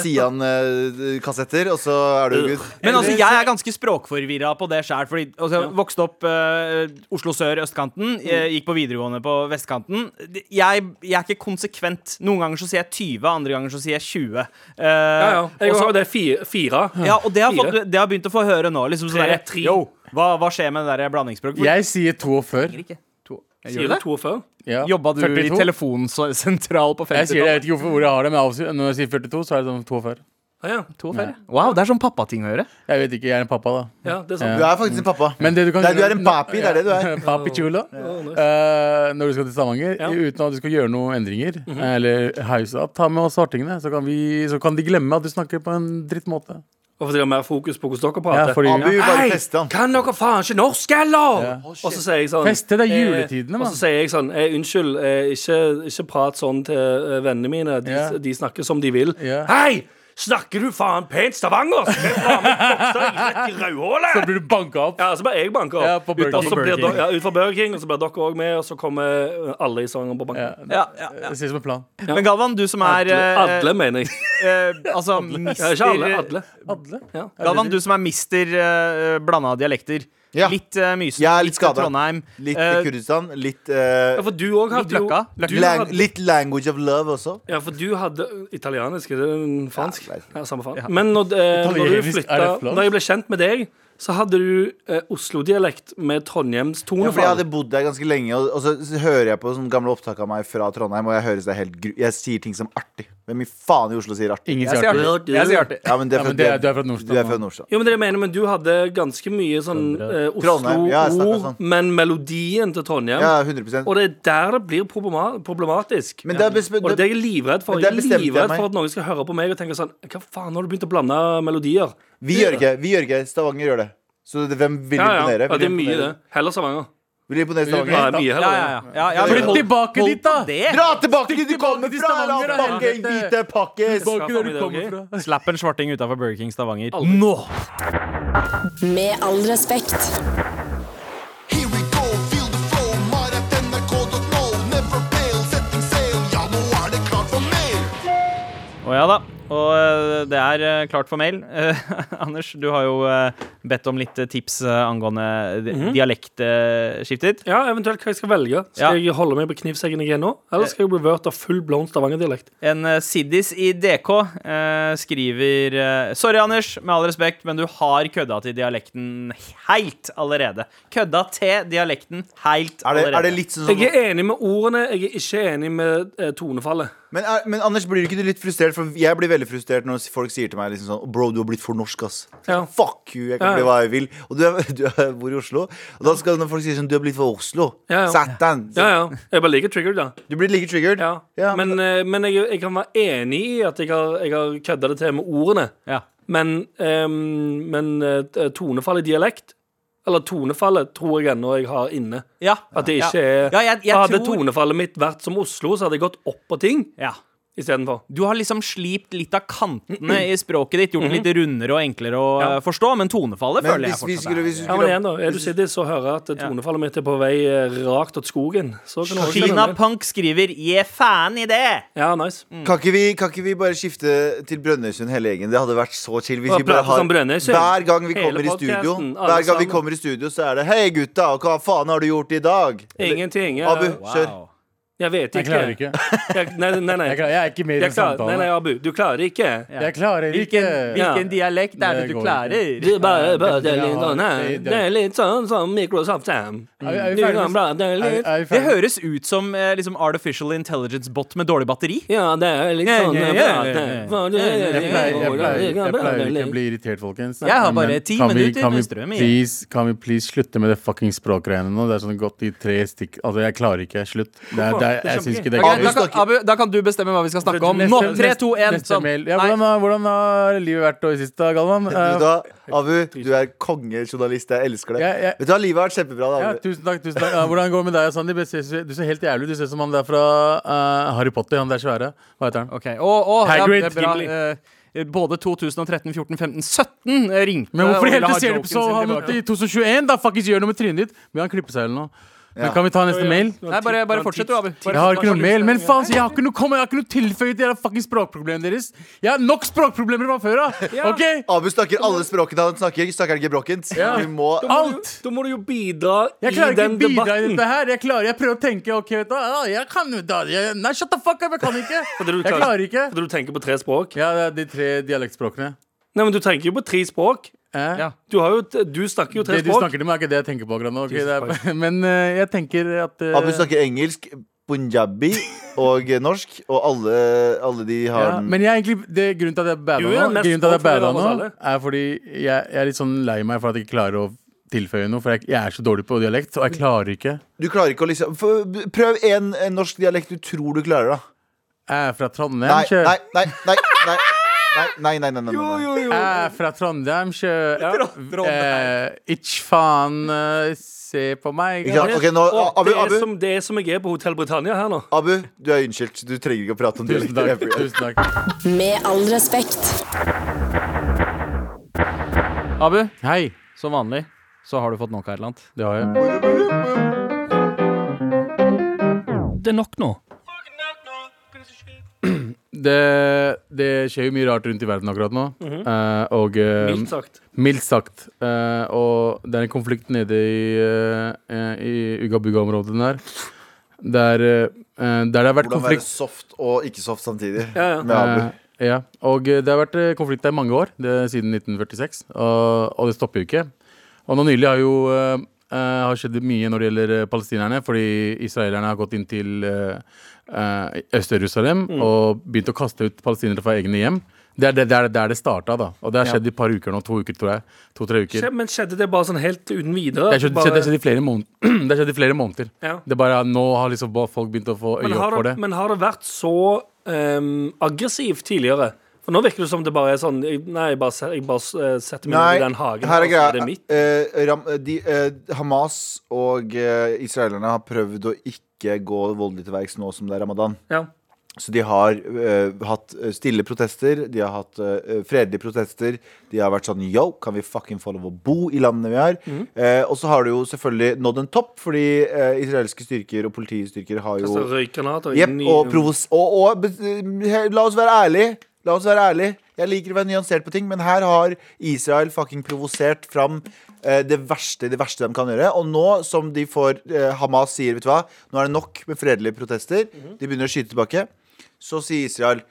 Sian-kassetter, og så er du good. Men altså, jeg er ganske språkforvirra på det sjæl. Fordi altså, jeg vokste opp eh, Oslo sør, Mm. østkanten. Jeg gikk på videregående på vestkanten. Jeg, jeg er ikke konsekvent. Noen ganger så sier jeg 20, andre ganger så sier jeg 20. Eh, Ja, ja. Jeg og så- har jo det fire. fire. ja, og det har, fått, Fire. det har begynt å få høre nå. Liksom sånn Tre, derre, tre. Yo, hva, hva skjer med det der blandingsspråket? Jeg sier 42. ikke. Sier du 42? Ja. Jobba du 42? i telefonsentral på Jeg sier 50-tallet? det, jeg vet ikke hvorfor hvor jeg har det, men av og til- når jeg sier 42, så er det sånn 42. Ja, ja. Wow, det er sånn pappating å gjøre. Jeg vet ikke, jeg er en pappa, da. ja, det er sant. Du er faktisk en pappa. Men det du kan Nei, du er en papi, det er det du er. Papi chula. Å, nice. Eh, når du skal til Stavanger, Ja. uten at du skal gjøre noen endringer, eh, eller hause opp, ta med oss svartingene, så kan, vi, så kan de glemme at du snakker på en drittmåte. Og fordi det er mer fokus på hvordan dere Ja, prater. fordi Abu bare Hei, fester han. kan dere faen ikke norsk, eller?! Ja. Og så sier jeg sånn Feste, det er eh, juletidene, Og mann. så sier jeg sånn eh, Unnskyld, eh, ikke, ikke prat sånn til eh, vennene mine. De, Ja. de snakker som de vil. Ja. Hei! Snakker du faen pent Stavanger? Så blir faen meg bokser jeg rett i rødhålet! Så blir du banka opp. Ja, så bare jeg banker Ja, opp. på Burger Ut- og så King. blir Burger King. dere- ja, ut fra Burger King, og så blir dere òg med, og så kommer eh, alle i sangen på Ja, banken. Ja, ja, ja. Det ser ut som en plan. Men Galvan, du som er Adle, eh, Adle, mener jeg. eh, Altså Ja, ikke alle. mister Adle. Adle. Ja. Galvan, du som er mister eh, blanda dialekter. Ja. Litt uh, Mysen, Jeg er litt litt, eh, skadet. Trondheim. Litt eh, Kurdistan, litt eh, Ja, for du òg hadde litt jo Løkka. du Løkka. lang, hadde- Litt language of love også. Ja, for du hadde italienisk, er det en fransk? Ja, Ja, det samme faen. Men når, eh, når du Italienisk, flytta, er det flaut? når jeg ble kjent med deg, så hadde du eh, Oslo-dialekt med Trondheims Ja, fordi jeg tonefall. hadde bodd der ganske lenge, og, og så, så hører jeg på sånne gamle opptak av meg fra Trondheim, og jeg høres det helt gru... Jeg sier ting som artig. Hvem i faen i Oslo sier artig? Ingen Jeg sier sier artig. Jeg sier artig. Ja, men det Ja, er men for- det er- du er fra Nordstrand, Du er da. fra Nordstrand. jo, men det jeg mener, men Du hadde ganske mye sånn eh, Trondheim, ja, jeg snakker Oslo-ord, sånn. men melodien til Trondheim Ja, 100 Og det er der det blir problema- problematisk. Men der Ja. bestem- og det er det jeg er livredd for. Men der Jeg er bestemte jeg livredd meg. for at noen skal høre på meg og tenke sånn Hva faen, nå har du begynt å blande melodier? Vi gjør ikke vi gjør ikke Stavanger gjør det. Så det, hvem vil Ja, ja. imponere? ja det Vil er mye, imponere? det. Heller Stavanger. Vil imponere Ja, det Stavanger? er mye Ja, heller. ja, ja. ja, ja Flytt hold- tilbake hold dit, da. på Det. Dra tilbake dit du kommer til fra! La Stavanger, da, pakken, helvete. hvite pakkes! Tilbake der du Ja. kommer fra. Slapp en svarting utafor Burger King Stavanger. Aldri. Nå! Med all respekt. Here we go, feel the flow, mar.nrk.no. Never fail, setting sail. Ja, nå er det klart for mer. Å ja da. Og eh, det er eh, klart for mail. Eh, Anders, du har jo eh, bedt om litt eh, tips eh, angående di- Mhm. dialektskiftet. Ja, eventuelt hva jeg skal velge. Skal jeg holde meg på knivseggen jeg er nå, eller skal jeg reverte av full blown Stavanger-dialekt? En eh, siddis i DK eh, skriver eh, Sorry, Anders, med all respekt, men du har kødda til dialekten heilt allerede. Kødda til dialekten heilt Er det, allerede. er det litt sånn som Jeg er enig med ordene, jeg er ikke enig med eh, tonefallet. Men, er, men Anders, blir ikke du litt frustrert? For jeg blir veldig frustrert når folk sier til meg liksom sånn Bro, du har blitt for norsk, ass. Ja. Fuck you, jeg Ja, kan ja. bli hva jeg vil. Og du, er, du er, bor i Oslo. Og da skal når folk sier sånn Du har blitt for Oslo. Ja, ja. Satan. Ja, ja. Jeg bare liker triggered, da. Du blir like triggered. Ja. Ja, men eh, men jeg, jeg kan være enig i at jeg har, jeg har kødda det til med ordene. Ja. Men, ehm, men eh, tonefall i dialekt Eller tonefallet tror jeg ennå jeg har inne. Ja. At det Ja. ikke er Ja, jeg- jeg Hadde tror- tonefallet mitt vært som Oslo, så hadde jeg gått opp på ting Ja. istedenfor. Du har liksom slipt litt av kantene i språket ditt, gjort det litt Mhm. rundere og enklere å eh, forstå, men tonefallet Men føler jeg hvis vi fortsatt skulle, hvis vi Ja, men skulle igjen, da. Er du siddis og hører at tonefallet mitt er på vei eh, rakt til skogen, så kan du er. også skjønne Kina det. Punk skriver 'gi faen i det'. Ja, nice. Kan ikke, vi, kan ikke vi bare skifte til Brønnøysund hele gjengen? Det hadde vært så chill. Hvis Og vi bare prate har, som Brønnøysund. hver gang vi Hele kommer i studio, podcasten, alle Hver gang vi sammen. kommer i studio så er det 'Hei, gutta, hva faen har du gjort i dag?' Eller, Ingenting. Abu, Jeg, kjør. jeg vet Jeg klarer ikke. ikke. Jeg, nei, nei, nei. Jeg, klarer, jeg er ikke med i Jeg den klarer, nei, nei, samtalen. Abu. Du klarer ikke. Jeg klarer ikke. Hvilken, hvilken dialekt er det Det du går klarer? Du bare prater det- litt ja, sånn her. det- det- Det er litt sånn som Microsoft Sam. Du Er vi- er vi ferdig kan med- prate litt Er- er vi Det ferdig? høres ut som eh, liksom artificial intelligence-bot med dårlig batteri. Ja, det er litt Ja, sånn ja, jeg ja, prater. ja, ja. For du- Jeg Jeg pleier, jeg, pleier, Du kan jeg prate pleier ikke å litt. bli irritert, folkens. Jeg har bare Men ti kan vi- minutter kan med vi strøm igjen. please, Kan vi please slutte med det fucking språkgreiene nå? Det er sånn gått i tre stikk Altså, jeg klarer ikke. Slutt. Det er, det er, jeg syns ikke det er Ok, da, Abu greit. kan, snakker- Abu, da kan du bestemme hva vi skal snakke om. Nå! Neste- 3, 2, 1. neste Sånn. mail. Ja, Nei. hvordan, har, hvordan har livet vært i siste, Galvan? Vet du Eh, hva, Abu, du er kongejournalist. Jeg elsker det. Jeg- jeg- Vet du hva, Livet har vært kjempebra. Da, Eh, ja, Abu. tusen takk. tusen takk Ja, Hvordan går det med deg, Sandeep? Jeg ser- Du ser helt jævlig ut. Du ser ut som han der fra eh, Harry Potter. Han der svære. Hva heter han? Ok, og, og, Hagrid, ja, det er bra. Gimli. Eh, Både 2013, 14, 15, 17 eh, ringte Men hvorfor og i ville ha helvete ser du joken på sin så han tilbake. i 2021? Da fuckings gjør noe med trynet ditt. Vil han klippe seg eller noe? Men Ja. kan vi ta neste mail? Nei, bare, bare fortsett, du, Abu. Bare Jeg har fortsett. ikke noe mail, men faen, så jeg har ikke noe kom, jeg har ikke noe tilføye til det fucking språkproblemet deres. Jeg har nok språkproblemer fra før av. OK? Abu snakker alle språkene han snakker. Snakker han gebrokkent? Ja. Vi må Alt. Da må du jo bidra i Jeg klarer ikke den å bidra i debatten. dette her. Jeg klarer, jeg prøver å tenke OK, vet du hva. Ja, Jeg kan jo da jeg, Nei, shut the fuck up, jeg kan ikke. Fordi du Jeg klarer ikke. Fordi du tenker på tre språk. Ja, det er de tre dialektspråkene. Nei, men du tenker jo på tre språk. Eh? Ja. Du, har jo, du snakker jo tre Det du språk. snakker til meg, er ikke det jeg tenker på akkurat nå. ok? Jesus det er, men eh, jeg tenker at eh, Abu snakker engelsk, punjabi og norsk, og alle, alle de har Ja, den. men jeg er egentlig, det, grunnen til at jeg er bada Du er den nå, mest grunnen til at jeg er påfølgende bada av oss nå alle. er fordi jeg, jeg er litt sånn lei meg for at jeg ikke klarer å tilføye noe. For jeg, jeg er så dårlig på dialekt, og jeg klarer ikke. Du klarer ikke å liksom få- Prøv en, en norsk dialekt du tror du klarer, da. Jeg er fra Trondheim, Nei, sjø. nei, nei, nei, nei. Nei, nei, nei, nei, nei, Jo, nei. jo, jo. Jeg er fra Trondheim, sjø. Trondheim. Eh, Ikke faen eh, se på meg. Ikke sant? Ok, nå, Å, Abu, det, er Abu, som, det er som jeg er på Hotell Britannia her nå. Abu, du er unnskyldt. Du trenger ikke å prate om Tusen dialekter. i takk. det programmet. Tusen takk. Med all respekt. Abu, Hei. som vanlig så har du fått nok av et eller annet. Det har jeg. Det er nok nå. Det, det skjer jo mye rart rundt i verden akkurat nå. Eh, og eh, Mhm. Mildt sagt. Mildt sagt. Eh, og det er en konflikt nede i, uh, i Ugabuga-området der. Der, eh, der det har vært Hvordan være konflikt soft og ikke soft samtidig Ja, ja. med Abu. Eh, ja. Og eh, det har vært eh, konflikt der i mange år, det, siden 1946. Og, og det stopper jo ikke. Og nå nylig har jo eh, eh, har skjedd mye når det gjelder eh, palestinerne, fordi israelerne har gått inn til eh, eh, Øst-Jerusalem Mm. og begynt å kaste ut palestinere fra egne hjem. Det er det- det er der det starta, da. Og det har skjedd i et par uker nå. To uker, tror jeg. To-tre uker. Skje- Men skjedde det bare sånn helt uten videre? Det har skjedd- Bare- skjedd- det har skjedd i flere måneder. Det har skjedd i flere måneder. Ja. Det er bare at Nå har liksom bare folk begynt å få øye men, opp har for det, det. men har det vært så ehm, aggressivt tidligere? For nå virker det som det bare er sånn jeg- Nei, jeg bare, se- jeg bare eh, setter meg ned i den hagen. her er og så greia. altså? det mitt. Eh, Ram, de, eh, Hamas og eh, israelerne har prøvd å ikke gå voldelig til verks nå som det er ramadan. Ja. Så de har eh, hatt eh, stille protester, de har hatt eh, fredelige protester. De har vært sånn yo, kan vi fucking få lov å bo i landene vi er? Eh, og så har det jo selvfølgelig nådd en topp, fordi eh, israelske styrker og politistyrker har jo Altså, røykgranater Jepp, inn i- og provos... Og, og be- he- la oss være ærlig La oss være ærlig Jeg liker å være nyansert på ting, men her har Israel fucking provosert fram eh, det verste det verste de kan gjøre. Og nå som de får eh, Hamas sier, vet du hva, nå er det nok med fredelige protester, Mhm. de begynner å skyte tilbake, så sier Israel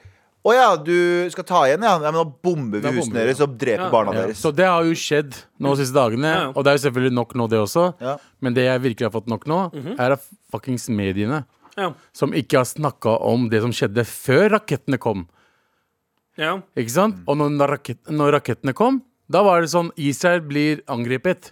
å ja, du skal ta igjen, ja. ja men da bomber vi Da bomber husene vi, deres og dreper barna Ja. deres. Så det har jo skjedd nå de siste dagene, Ja, ja. og det er jo selvfølgelig nok nå, det også. Ja. Men det jeg virkelig har fått nok nå, Mhm. er av fuckings mediene. Ja. Som ikke har snakka om det som skjedde før rakettene kom. ja. Mm. Ikke sant? Og når, rakett, når rakettene kom, da var det sånn Israel blir angrepet.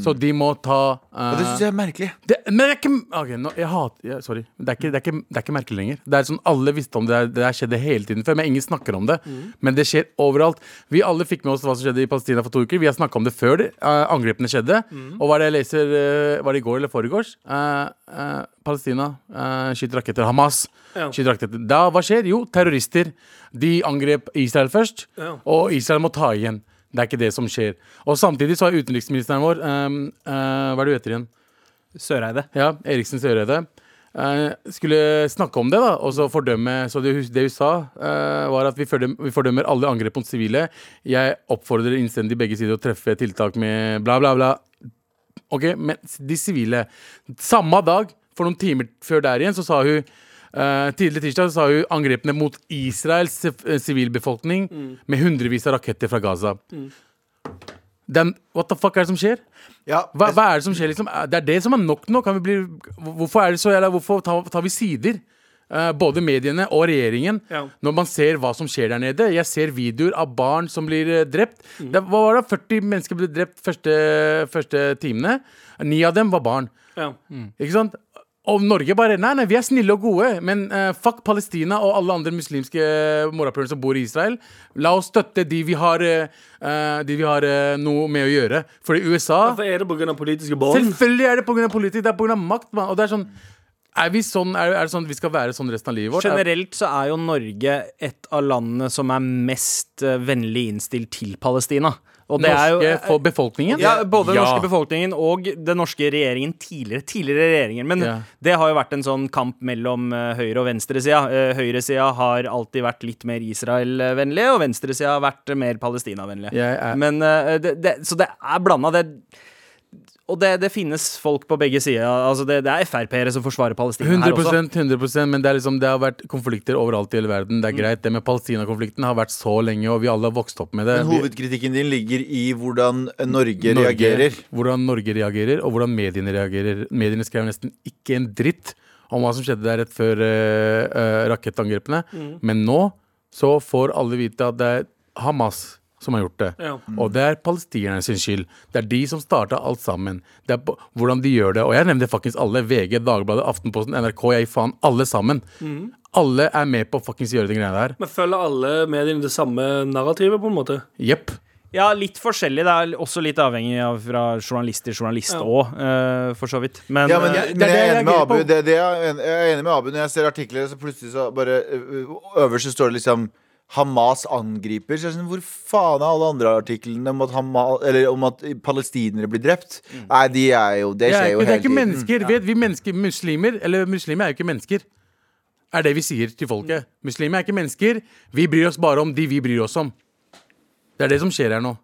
Så de må ta eh, Mm. Og det syns jeg er merkelig. det, men det er ikke Ok, nå, jeg hater jeg, Sorry. Det er, ikke, det, er ikke, det er ikke merkelig lenger. Det er sånn, Alle visste om det. Det der skjedde hele tiden før, men ingen snakker om det. Mm. Men det skjer overalt. Vi alle fikk med oss hva som skjedde i Palestina for to uker. Vi har snakka om det før det, eh, angrepene skjedde. Mm. Og hva er det jeg leser eh, Var det i går eller foregårs? Eh, eh, Palestina eh, skyter raketter. Hamas Ja. skyter raketter. Da, hva skjer? Jo, terrorister. De angrep Israel først, Ja. og Israel må ta igjen. Det er ikke det som skjer. Og samtidig så har utenriksministeren vår eh, eh, Hva er det du heter igjen? Søreide. Ja, Eriksen Søreide eh, skulle snakke om det, da og så fordømme. Så det, hus- det hun sa, eh, var at vi fordømmer, vi fordømmer alle angrep mot sivile. Jeg oppfordrer innstendig begge sider å treffe tiltak med bla, bla, bla. Ok, men de sivile Samme dag, for noen timer før der igjen, så sa hun eh, tidlig tirsdag så sa hun angrepene mot Israels eh, sivilbefolkning med hundrevis av raketter fra Gaza. Dem- what the fuck er det som skjer? Ja, Hva, hva er det som skjer, liksom? Det er det som er nok nå. Kan vi bli, hvorfor er det så jævla Hvorfor tar, tar vi sider? Eh, både mediene og regjeringen. Ja. Når man ser hva som skjer der nede. Jeg ser videoer av barn som blir eh, drept. Det, hva var det? 40 mennesker ble drept første, første timene. Ni av dem var barn. Ja. Ikke sant? Og Norge bare Nei, nei, vi er snille og gode, men eh, fuck Palestina og alle andre muslimske uh, morapulere som bor i Israel. La oss støtte de vi har, eh, eh, de vi har eh, noe med å gjøre. Fordi USA Hvorfor er det pga. politiske bånd? Selvfølgelig er det pga. politikk. Det er pga. makt. Man. Og det er sånn er, vi sånn, er, er det sånn vi skal være sånn resten av livet vårt? Er- Generelt så er jo Norge et av landene som er mest eh, vennlig innstilt til Palestina. Og det er jo eh, Norske for befolkningen? ja, både den Ja. norske befolkningen og den norske regjeringen tidligere. tidligere regjeringer, Men Ja. det har jo vært en sånn kamp mellom eh, høyre- og venstresida. Uh, høyresida har alltid vært litt mer Israel-vennlig, og venstresida har vært mer Palestina-vennlig. Jeg er- Men, eh, det, det, så det er blanda. Det, og det, det finnes folk på begge sider. Altså det, det er Frp-ere som forsvarer Palestina her også. 100 100 men det, er liksom, det har vært konflikter overalt i hele Mm. verden. Det er greit. Det med Palestina-konflikten har vært så lenge, og vi alle har vokst opp med det. Men Vi- hovedkritikken din ligger i hvordan Norge, Norge- reagerer. Hvordan Norge reagerer, og hvordan mediene reagerer. Mediene skrev nesten ikke en dritt om hva som skjedde der rett før eh, eh, rakettangrepene. Men nå så får alle vite at det er Hamas som har gjort det. Ja. Og det er palestinerne sin skyld. Det er de som starta alt sammen. Det er på, hvordan de gjør det. Og jeg nevnte faktisk alle. VG, Dagbladet, Aftenposten, NRK. Jeg gir faen. Alle sammen. Alle er med på å fuckings gjøre de greiene der. Men følger alle mediene det samme narrativet, på en måte? Jepp. Ja, litt forskjellig. Det er også litt avhengig av fra journalist til journalist Ja. òg, for så vidt. Men, Ja, men, eh, jeg, det men er jeg det jeg er enig med reagerer Abu. på. Det, det er, jeg er enig med Abu Når jeg ser artikler, så plutselig så bare ø- ø- Øverst så står det liksom Hamas angriper. Så jeg er sånn, Hvor faen er alle andre artiklene om at, Hamas, eller om at palestinere blir drept? Nei, de er jo Det Det er, skjer ikke- det jo er hele ikke tiden. mennesker. Vet vi mennesker, muslimer Eller muslimer er jo ikke mennesker. Er det vi sier til folket. Mm. Muslimer er ikke mennesker. Vi bryr oss bare om de vi bryr oss om. Det er det som skjer her nå.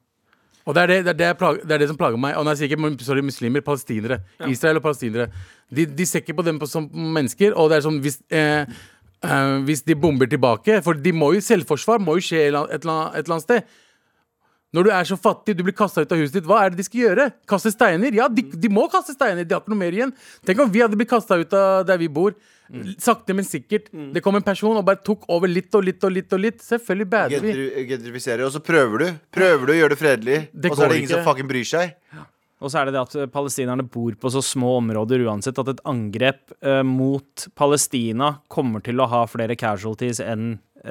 Og det er det, det, er det, jeg plager, det, er det som plager meg. Og når jeg sier ikke mu- sorry, muslimer, palestinere. Israel og palestinere. De, de ser ikke på dem på som mennesker. Og det er sånn hvis, eh, eh, hvis de bomber tilbake For de må jo, selvforsvar må jo skje et eller annet, et eller annet, et eller annet sted. Når du er så fattig, du blir kasta ut av huset ditt, hva er det de skal gjøre? Kaste steiner? Ja, de, de må kaste steiner, de har ikke noe mer igjen. Tenk om vi hadde blitt kasta ut av der vi bor. Sakte, men sikkert. Det kom en person og bare tok over litt og litt og litt. og litt Selvfølgelig bader vi. Gentri- Gentrifiserer. Og så prøver du. Prøver du å gjøre det fredelig, Det og så er går det ingen ikke. som fucking bryr seg. Og så er det det at eh, palestinerne bor på så små områder uansett at et angrep eh, mot Palestina kommer til å ha flere casualties enn eh, et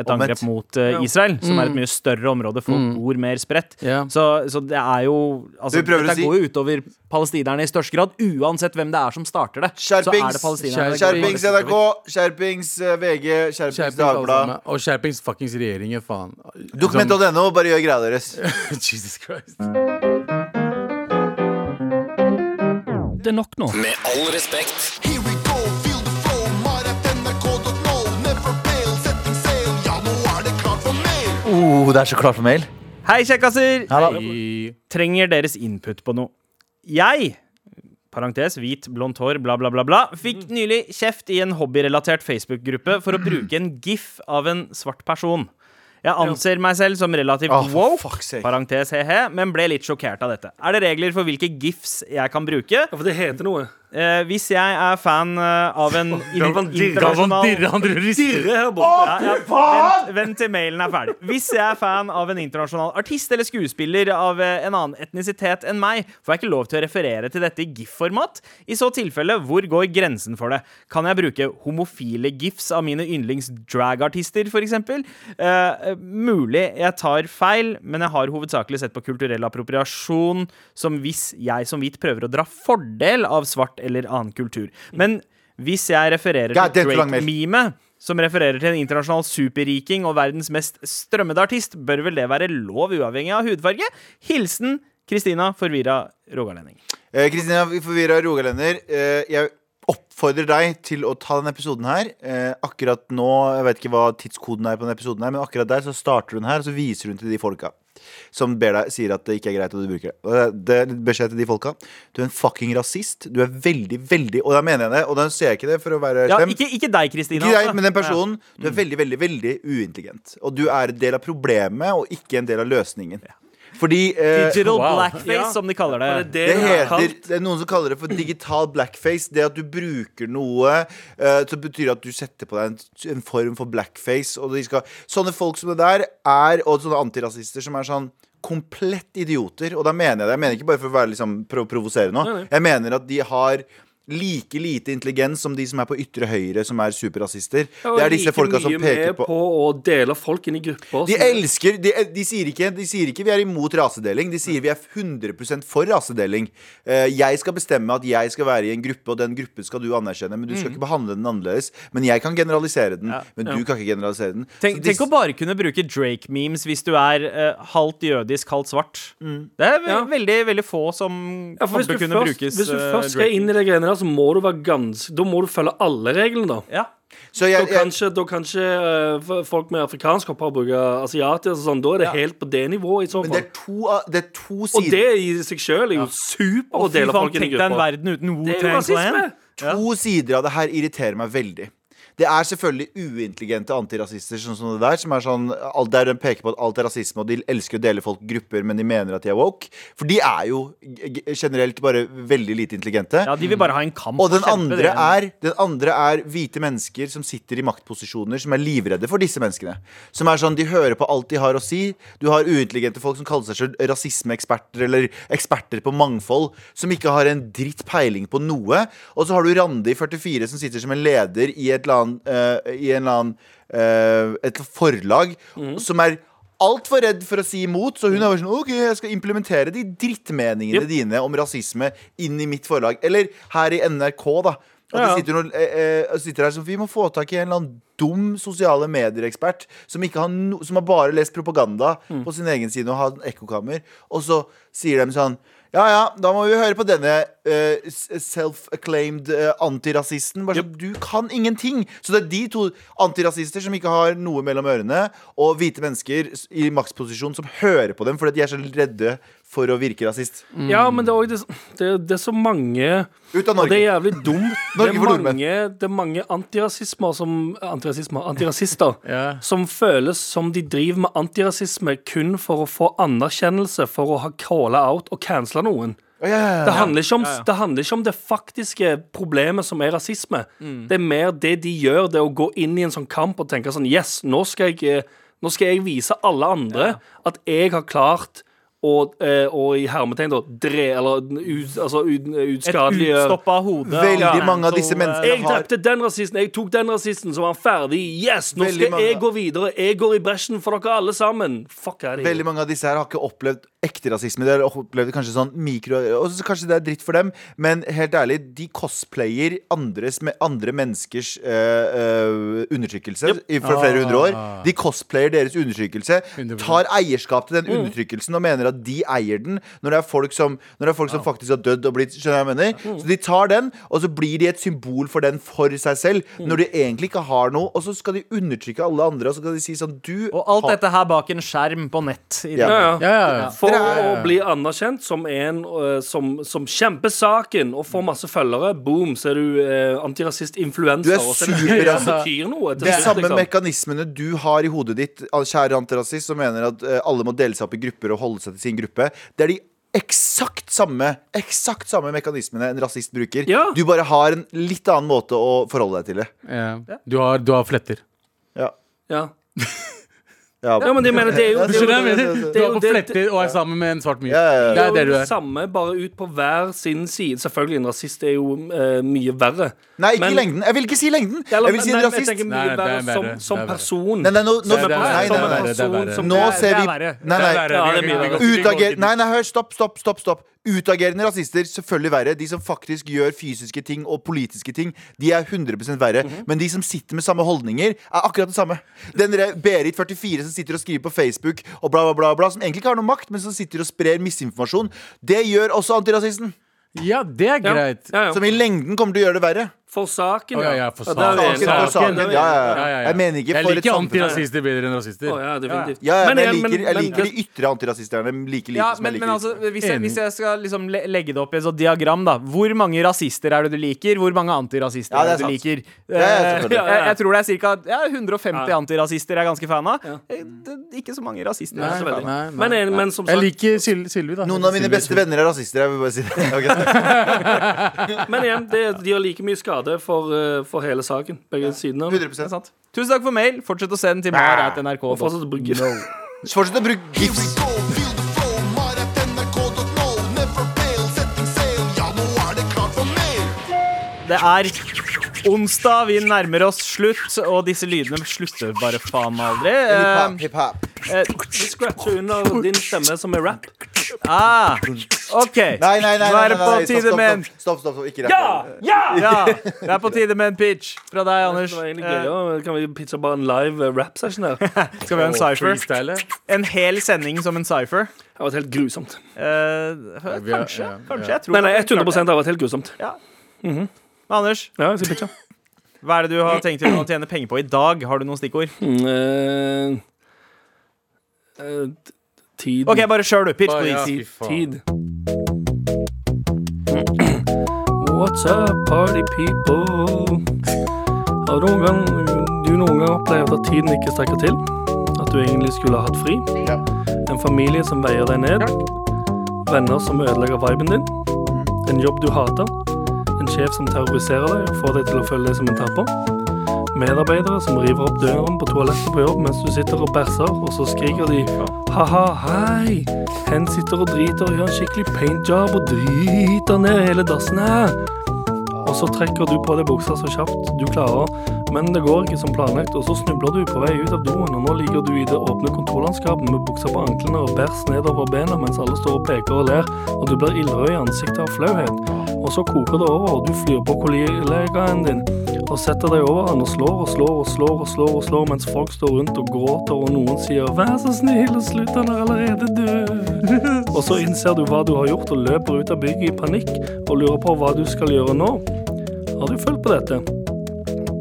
Omvendt. angrep mot eh, Israel, som Mm. er et mye større område. Folk bor mer spredt. Ja. Så, så det er jo altså, Du prøver å Dette si- går jo utover palestinerne i største grad, uansett hvem det er som starter det. Så er Skjerpings! det palestinerne det går Skjerpings hardest NRK, utover. skjerpings eh, VG, skjerpings Skjerpings, alle Dagbladet. sammen. Og skjerpings fuckings regjeringer, faen. Dokument.no, bare gjør greia deres. Som- Jesus Christ. Det er nok nå. Med all respekt. Here we go, feel the flow, mar at nrk.no. Never fail, setting sail, ja, nå er det klart for mer. Oh, det er så klart for mail. Hei, kjekkaser! I- trenger deres input på noe. Jeg parentes, hvit, blondt hår, bla, bla, bla, bla, fikk nylig kjeft i en hobbyrelatert Facebook-gruppe for å bruke en gif av en svart person. Jeg anser meg selv som relativt Åh, Ah, for woke, fuck's sake. parentes he-he, men ble litt sjokkert av dette. Er det regler for hvilke gifs jeg kan bruke? Ja, for det heter noe. Eh, hvis jeg er fan eh, av en Galvan dirrer. internasjonal han rister. Dirre her borte. ja, ja, vent, vent til mailen er ferdig. Hvis jeg er fan av en internasjonal artist eller skuespiller av eh, en annen etnisitet enn meg, får jeg ikke lov til å referere til dette i GIF-format? I så tilfelle, hvor går grensen for det? Kan jeg bruke homofile GIFs av mine yndlings-dragartister, f.eks.? Uh, mulig jeg tar feil, men jeg har hovedsakelig sett på kulturell appropriasjon som hvis jeg som hvit prøver å dra fordel av svart eller annen kultur. Men hvis jeg refererer God, det er til for lang mail. Drake Mime, som refererer til en internasjonal superriking og verdens mest strømmede artist, bør vel det være lov uavhengig av hudfarge? Hilsen Kristina forvirra rogalending. Eh, Kristina forvirra rogalender. Eh, jeg oppfordrer deg til å ta denne episoden her. Eh, akkurat nå, jeg vet ikke hva tidskoden er på denne episoden her, men akkurat der så starter hun her, og så viser hun til de folka som ber deg, sier at det ikke er greit at du bruker det. Og det er beskjed til de folka. Du er en fucking rasist. Du er veldig, veldig Og da mener jeg det, og da ser jeg ikke det for å være Ja, slem. ikke, ikke deg, Kristina. Ikke deg, altså. men den personen. Du er veldig, veldig, veldig uintelligent. Og du er en del av problemet, og ikke en del av løsningen. Fordi Ja. eh, Digital Wow. blackface, Ja. som de kaller det. Er det det det hun har heter, kalt? det er noen som kaller det for digital blackface. Det at du bruker noe eh, som betyr at du setter på deg en, en form for blackface. Og de skal, sånne folk som det der er, og sånne antirasister som er sånn komplett idioter. Og da mener jeg det. Jeg mener ikke bare for å være, liksom, prøve å provosere nå. Jeg mener at de har like lite intelligens som de som er på yttre høyre, som er superrasister. Det er disse folka som peker på på å dele folk inn i grupper. de som- elsker de, de, sier ikke, de sier ikke vi er imot rasedeling. De sier vi er 100 for rasedeling. Eh, jeg skal bestemme at jeg skal være i en gruppe, og den gruppen skal du anerkjenne. Men du Mm. skal ikke behandle den annerledes. Men jeg kan generalisere den. Men du kan ikke generalisere den. Tenk, Så de- tenk å bare kunne bruke Drake-memes hvis du er eh, halvt jødisk, halvt svart. Mm. Det er ve Ja. veldig veldig få som Ja, for hvis du, burde kunne først, brukes. hvis du eh, først skal Drake. inn i de greiene der, så må du være ganske Da må du følge alle reglene, da. ja. så Da jeg, jeg, kan ikke, da kan ikke eh, f- folk med afrikansk hoppe og bruke asiatisk og sånn. Da er det helt på det nivået, i så men det fall. er to, av- det er to Og sider. det i seg sjøl er jo super å Fy dele faen, folk inn i tenk deg en grupper. verden uten Det er jo Wu-Tang rasisme! Clan. To sider av det her irriterer meg veldig. Det er selvfølgelig uintelligente antirasister sånn som det der, som er sånn alt der de peker på at alt er rasisme, og de elsker å dele folk i grupper, men de mener at de er woke. For de er jo g- g- generelt bare veldig lite intelligente. Ja, de vil bare ha en kamp. Og den kjempe det. andre, er, den andre er hvite mennesker som sitter i maktposisjoner, som er livredde for disse menneskene. Som er sånn, De hører på alt de har å si. Du har uintelligente folk som kaller seg selv rasismeeksperter eller eksperter på mangfold, som ikke har en dritt peiling på noe. Og så har du Randi, 44, som sitter som en leder i, et eller annet, eh, i en eller annen, eh, et forlag, som er altfor redd for å si imot, så hun er bare sånn OK, jeg skal implementere de drittmeningene dine om rasisme inn i mitt forlag. Eller her i NRK, da. At det sitter, noen, eh, eh, sitter her som Vi må få tak i en eller annen dum sosiale medier-ekspert som, ikke har no, som har bare lest propaganda Mm. på sin egen side og har en ekkokammer, og så sier de sånn ja, ja, da må vi høre på denne eh, s- self-acclaimed eh, antirasisten. Bare sånn, Du kan ingenting! Så det er de to antirasister som ikke har noe mellom ørene, og hvite mennesker s- i maktposisjon som hører på dem fordi at de er så redde for å virke rasist. Ja, men det er, også, det, det, det er så mange Ut av Og det er Norge. jævlig dumt. Det Norge er for nordmenn. mange, det er mange antirasismer som Antirasismer, antirasister Ja. som føles som de driver med antirasisme kun for å få anerkjennelse for å ha calla out og cancela noen. Ja, ja, ja. Det handler, ikke om, det handler ikke om det faktiske problemet som er rasisme. Det er mer det de gjør, det å gå inn i en sånn kamp og tenke sånn Yes, nå skal jeg, eh, nå skal jeg vise alle andre at jeg har klart å, eh, å i hermetegn, da, dre... Eller ut, altså, ut, Et utskadeliggjøre utstoppa hode. Veldig og- mange av disse eh, menneskene- jeg drepte den rasisten, jeg tok den rasisten, så var han ferdig. Yes, nå Veldig skal mange- jeg gå videre. Jeg går i bresjen for dere alle sammen. Fuck er Veldig det. mange av disse her har ikke opplevd ekte rasisme. De har opplevd kanskje sånn mikro Og så kanskje det er dritt for dem, men helt ærlig, de cosplayer andres, med andre menneskers øh, øh, undertrykkelse i- fra flere hundre år. Ah. De cosplayer deres undertrykkelse, 100%. tar eierskap til Mm. den undertrykkelsen og mener at de eier den, når det er folk som, når det er folk Ah. som faktisk har dødd og blitt Skjønner du hva jeg Mm. mener? Så de tar den, og så blir de et symbol for den for seg selv, Mm. når de egentlig ikke har noe, og så skal de undertrykke alle andre, og så skal de si sånn Du Og alt har- dette her bak en skjerm på nett. I Ja. dag. Ja, ja. Ja, ja, ja. For Dere er- å bli anerkjent som en eh, som, som kjemper saken og får masse følgere, boom, så er du eh, antirasist-influencer. Du er og så det super- det altså. som betyr noe. til De slutt, samme liksom. mekanismene du har i hodet ditt, al- kjære antirasist, som mener at eh, alle må dele seg opp i grupper og holde seg til sin gruppe. Det er de eksakt samme Eksakt samme mekanismene en rasist bruker. Ja. Du bare har en litt annen måte å forholde deg til det. Ja. Du, har, du har fletter. Ja, Ja. ja. ja, men jeg mener, det er jo Ja, det er jo- det er jo- det er jo- er Du har jo- på fletter og er sammen med en svart myr. ja, ja. Det er det du det er. samme, bare ut på hver sin side. Selvfølgelig, en rasist er jo eh, mye verre. Nei, ikke Men- lengden. Jeg vil ikke si lengden! Eller, Jeg vil si en nei, men jeg rasist. tenker mye Nei, det er verre som, verre, som det er verre. person. Nei, nei, nå- som nå- en person- nei, nei, som en det nei, er person verre. som- Nå Det er- ser det er vi- verre. Nei, Ja, nei. det er mye verre. Utager... Nei, nei, hør, stopp, stopp, stopp. stopp Utagerende rasister, selvfølgelig verre. De som faktisk gjør fysiske ting og politiske ting, de er 100 verre. Mhm. Men de som sitter med samme holdninger, er akkurat det samme. Den der Berit44 som sitter og skriver på Facebook og bla, bla, bla, bla, som egentlig ikke har noe makt, men som sitter og sprer misinformasjon, det gjør også antirasisten. Ja, det er Ja, greit. Ja, Som ja. i lengden kommer til å gjøre det verre. For saken, Å, ja, ja, for der er vi saken. enige. Saken for saken. Ja, Ja, det er vi enige. ja, Ja, ja, ja. Jeg mener ikke Jeg for et liker samfunn. antirasister bedre enn rasister. Å, ja, definitivt. Ja, ja, men jeg Men- men- liker, jeg men- liker de ytre antirasisterne like lite Ja, som men, jeg men liker altså, hvis jeg, Enig. hvis jeg skal liksom le legge det opp i et sånt diagram, da. Hvor mange rasister er det du liker? Hvor mange antirasister Ja, det er er det du sant. liker? er Eh, selvfølgelig. jeg, jeg tror det er ca. Ja, 150 Ja. antirasister jeg er ganske fan av. Eh, Det, ikke så mange rasister. jeg er så fan av. Men, en- men som Jeg sagt, liker Sil Silvi, da. Noen av mine Silvi er beste kul. venner er rasister. Jeg vil bare si det. Ok. men igjen, det, de har like mye skade for, eh, for hele saken. Begge sidene. av den. 100% Det er sant. Tusen takk for mail. Fortsett å sende til mar.nrk. Og fortsatt å bruke Så Fortsett å bruke Here we gifs. go, feel the flow, mar at nrk.no. Never fail, setting sail, ja, nå er det klart for mer. Det er onsdag, vi nærmer oss slutt, og disse lydene slutter bare faen meg aldri. Eh, Hiphop, hiphop. Vi scratcher under din stemme, som er rap. ah, OK. Nei, nei, nei. Nå nei, er det nei, på nei, tide med en stopp, stopp, stopp, stopp, stopp. Ikke rett. Ja, det er på tide med en pitch fra deg, Det Anders. var egentlig Eh, gøy, ja. Kan vi pitche bare en live eh, rap-session her? Det skal vi ha en cypher? Freestyle, ja. En hel sending som en cypher? har vært helt grusomt. Eh, vi er- kanskje. ja, Kanskje. ja. Jeg tror Nei, nei, det. 100 har vært helt grusomt. Ja. Men Anders, Ja, jeg skal pitche. hva er det du har tenkt å tjene penger på i dag? Har du noen stikkord? Mm, eh, eh, t- tid OK, bare kjør, du. Pitch, Bare, ja. please. Fy tid, faen. tid. What's up, party people? Har du noen gang, du noen gang opplevd at tiden ikke strekker til? At du egentlig skulle ha hatt fri? En familie som veier deg ned? Venner som ødelegger viben din? En jobb du hater? En sjef som terroriserer deg og får deg til å føle deg som en taper? Medarbeidere som river opp døren på toalettet på jobb mens du sitter og bæsjer, og så skriker de ha-ha, hei! Hen sitter og driter og gjør en skikkelig paintjob og driter ned hele dassen her. Og så trekker du på deg buksa så kjapt du klarer, men det går ikke som planlagt, og så snubler du på vei ut av doen, og nå ligger du i det åpne kontorlandskapet med buksa på anklene og bæsj nedover bena mens alle står og peker og ler, og du blir ildrød i ansiktet av flauhet. Og så koker det over, og du flyr på kollegaen din og setter deg over han og slår og slår og slår og slår og slår mens folk står rundt og gråter, og noen sier 'vær så snill og slutt, han er allerede død'. og så innser du hva du har gjort, og løper ut av bygget i panikk og lurer på hva du skal gjøre nå. Har du følt på dette?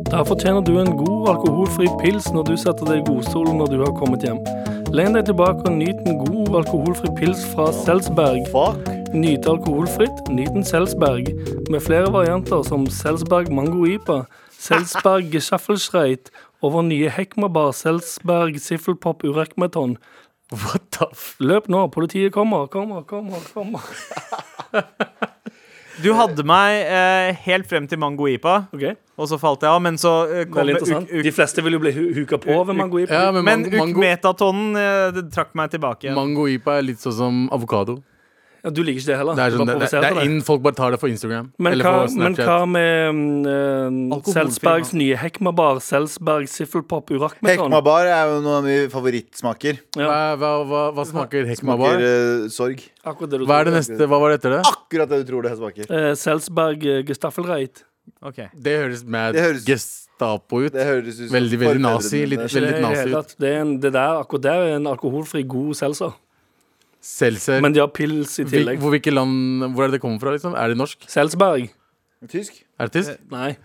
Da fortjener du en god alkoholfri pils når du setter deg i godstolen når du har kommet hjem. Len deg tilbake og nyt en god alkoholfri pils fra Selsberg. Fuck. Nyte alkoholfritt, nyt en Selsberg, med flere varianter som Selsberg Mango IPA, Selsberg Schaffelschreit og vår nye Hekmabar Selsberg Siffelpop Urekmeton. What the f... Løp nå, politiet kommer, kommer, kommer. kommer. Du hadde meg eh, helt frem til Mango Ipa, Ok, og så falt jeg av, men så eh, kom Veldig uk, interessant. uk, De fleste vil jo bli hu- huka på ved Mango IPA. Ja, men Men mango, mango, ukmetatonen eh, det trakk meg tilbake igjen. mango ipa er litt sånn som avokado. Ja, du liker ikke det heller. Det er, Du sånn, bare det, det, provoserte det er deg. inn, folk bare tar det for Instagram. Men eller hva, for men Snapchat. hva med mm, eh, Alkoholfri Selsbergs nye Hekmabar Selsberg Siffelpop Urekmeton? Hekmabar er jo noen av mine favorittsmaker. hva, hva, hva, hva smaker Smaker hekmabar? eh, sorg. Akkurat det du Hva er det tror. neste? Hva var det etter det? Akkurat det du tror det smaker. Eh, Selsberg eh, Gestaffelreit. Ok. Det høres mad Det høres- Gestapo ut. Det høres ut som Veldig, veldig nazi, forfedrene litt- mine. Det, Veldig er i det, nazi hele ut. tatt. det, er en, det der, akkurat der er en alkoholfri god seltzer. Seltzer. Men de har pils i Hvil- tillegg. Eh, Hvor, hvilke land, hvor er det det kommer fra? liksom? Er det norsk? Selsberg? Tysk? Er det tysk? Nei.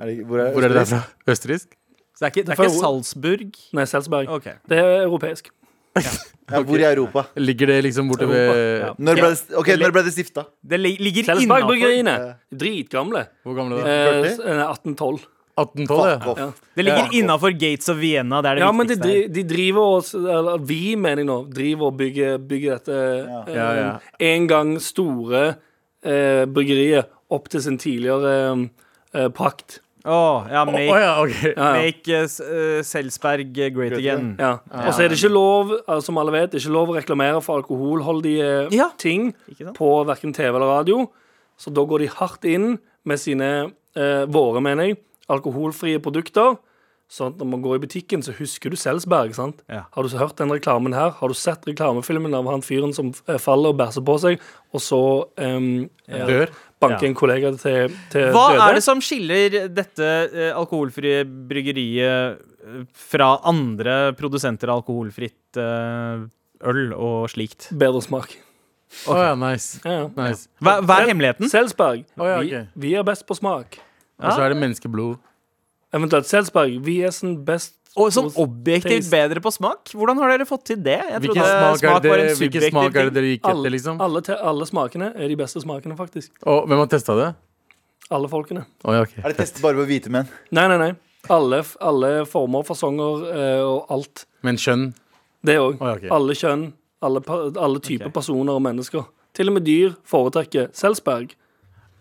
Er det, hvor, Hvor er det derfra? Eh, Østerriksk? Så det er ikke, det er får- ikke Salzburg? Nei, Selsberg. Ok. Det er europeisk. Ja, hvor i Europa? Ligger det liksom borte ved Ja. Når ble det, ok, når ble det stifta? Det li ligger innafor. Eh. Selsberg-bryggeriene. Dritgamle. Hvor gamle er det? Eh, Førti? s- eh, 1812. Fuck 1812, ja. off. Det ligger innafor Gates of Vienna. Det er det Ja, men de, viktigste. dri- de driver og s- eller, Vi, mener jeg nå, driver og bygger, bygger dette eh, Ja, ja. en gang store eh, bryggeriet opp til sin tidligere eh, eh, prakt. Åh, ja, Å make, ja, ok. Ja, ja. make eh, s- eh, Selsberg eh, great again. Ja. Og så er det ikke lov, eh, som alle vet, det er ikke lov å reklamere for alkoholholdige Ja. ting Ikke sant? på verken TV eller radio. Så da går de hardt inn med sine eh, våre, mener jeg, alkoholfrie produkter. Sånn at når man går i butikken, så husker du Selsberg. sant? Ja. Har du hørt den reklamen her? Har du sett reklamefilmen av han fyren som eh, faller og bæsjer på seg, og så em, eh, Dør. banker en kollega til, til Hva døde? er det som skiller dette eh, alkoholfrie bryggeriet eh, fra andre produsenter av alkoholfritt eh, øl og slikt? Bedre smak. Å ja, nice. Ja, Mm. ja. nice. Hva, hva er hemmeligheten? Selsberg, Å, ja, ok. vi, vi er best på smak. Og så er det menneskeblod. Eventuelt Selsberg, vi er sånn best Og sånn hos- objektivt taste. bedre på smak? Hvordan har dere fått til det? Jeg Hvilken trodde smak er det, var en hvilken subjektiv smak er det ting. dere gikk alle, etter, liksom? alle, te, alle smakene er de beste smakene, faktisk. Og hvem har testa det? Alle folkene. Å ja, ok. Er det test bare på hvite menn? Nei, nei, nei. Alle, f- alle former, fasonger eh, og alt. Men kjønn? Det òg. Å, ja, ok. Alle kjønn, alle, pa- alle typer personer og mennesker. Til og med dyr foretrekker Selsberg.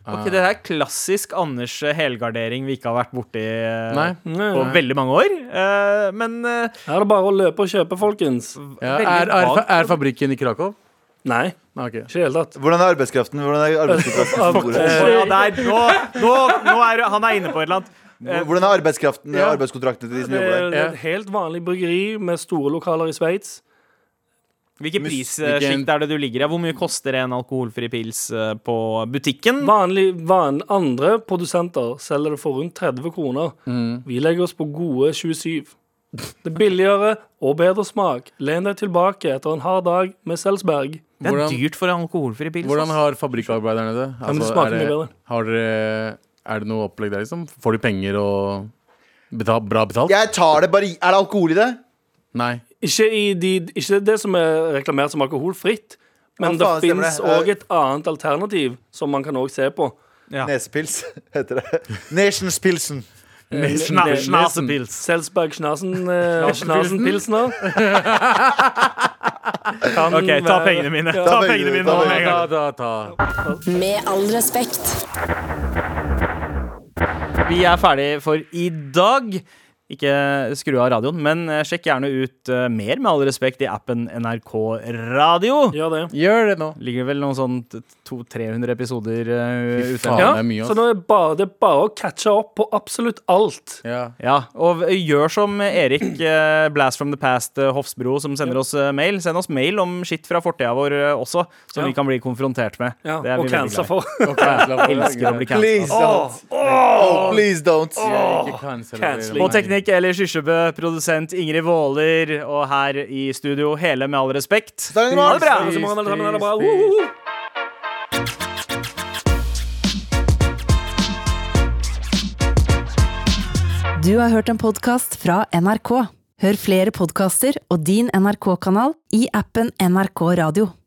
Ok, Det er klassisk Anders eh, helgardering vi ikke har vært borti eh, Nei. Nei, på nei. veldig mange år. Eh, Men eh, Her er det bare å løpe og kjøpe, folkens. Ja, veldig er, er, vagt. er fabrikken i Krakow? Nei, Nei, ok. ikke i det hele tatt. eh, Hvordan er arbeidskraften? Hvordan er arbeidskraften, på bordet? Å, ja, der. Nå, nå, nå er du- han er inne på et eller annet. Hvordan er arbeidskraften Ja. arbeidskontraktene til de som Det jobber der? er eh, et helt vanlig bryggeri med store lokaler i Sveits. Hvilken Mus- prissjikt er det du ligger i? Hvor mye koster en alkoholfri pils eh, på butikken? Vanlig, van, andre produsenter selger det for rundt 30 kroner. Vi legger oss på gode 27. Det er billigere og bedre smak. Len deg tilbake etter en hard dag med Selsberg. Det er Hvordan- dyrt for en alkoholfri pils. Hvordan ass. har fabrikkarbeiderne det? Altså, men det er, smaker mye det bedre. har, dere- er det noe opplegg der, liksom? Får de penger og beta- bra betalt? Jeg tar det bare i- Er det alkohol i det? Nei. Ikke, i de, ikke det som er reklamert som alkoholfritt, men Ja, faen, det stemmer fins det. òg et annet alternativ som man kan òg se på. Ja. Nesepils heter det. Nationspilsen. Schna- Ne- Schnasepils. Selsberg Schnasen, eh, Schnasenpilsner. Kan OK, ta være- pengene mine. Ta pengene pengene mine, mine ta nå pengene. med en Ta, gang. ta, ta. Med all respekt. Vi er ferdig for i dag. Ikke skru av radioen, men eh, sjekk gjerne ut eh, mer, med all respekt, i appen NRK Radio. Gjør det. Gjør det nå. Ligger vel noen sånn t- 200-300 episoder eh, Fy ute. faen, Ja, det er mye, så ass. nå er det bare, det er bare å catche opp på absolutt alt. Ja. Ja, og v- gjør som Erik eh, Blast from the Past eh, Hofsbro, som sender oss eh, mail. Send oss mail om skitt fra fortida vår eh, også, som Ja. vi kan bli konfrontert med. Ja, det er og vi veldig cancel glad i. for. Og cancela for det. Elsker å bli Please cancela. don't. Oh, please don't. Ikke cancela Canceling. På for det. teknikk eller Kyrkjebø, produsent Ingrid Waaler, og her i studio hele Med all respekt. Ha det bra. Ja, så må han alle sammen ha det bra. Woho! Du har hørt en podkast fra NRK. Hør flere podkaster og din NRK-kanal i appen NRK Radio.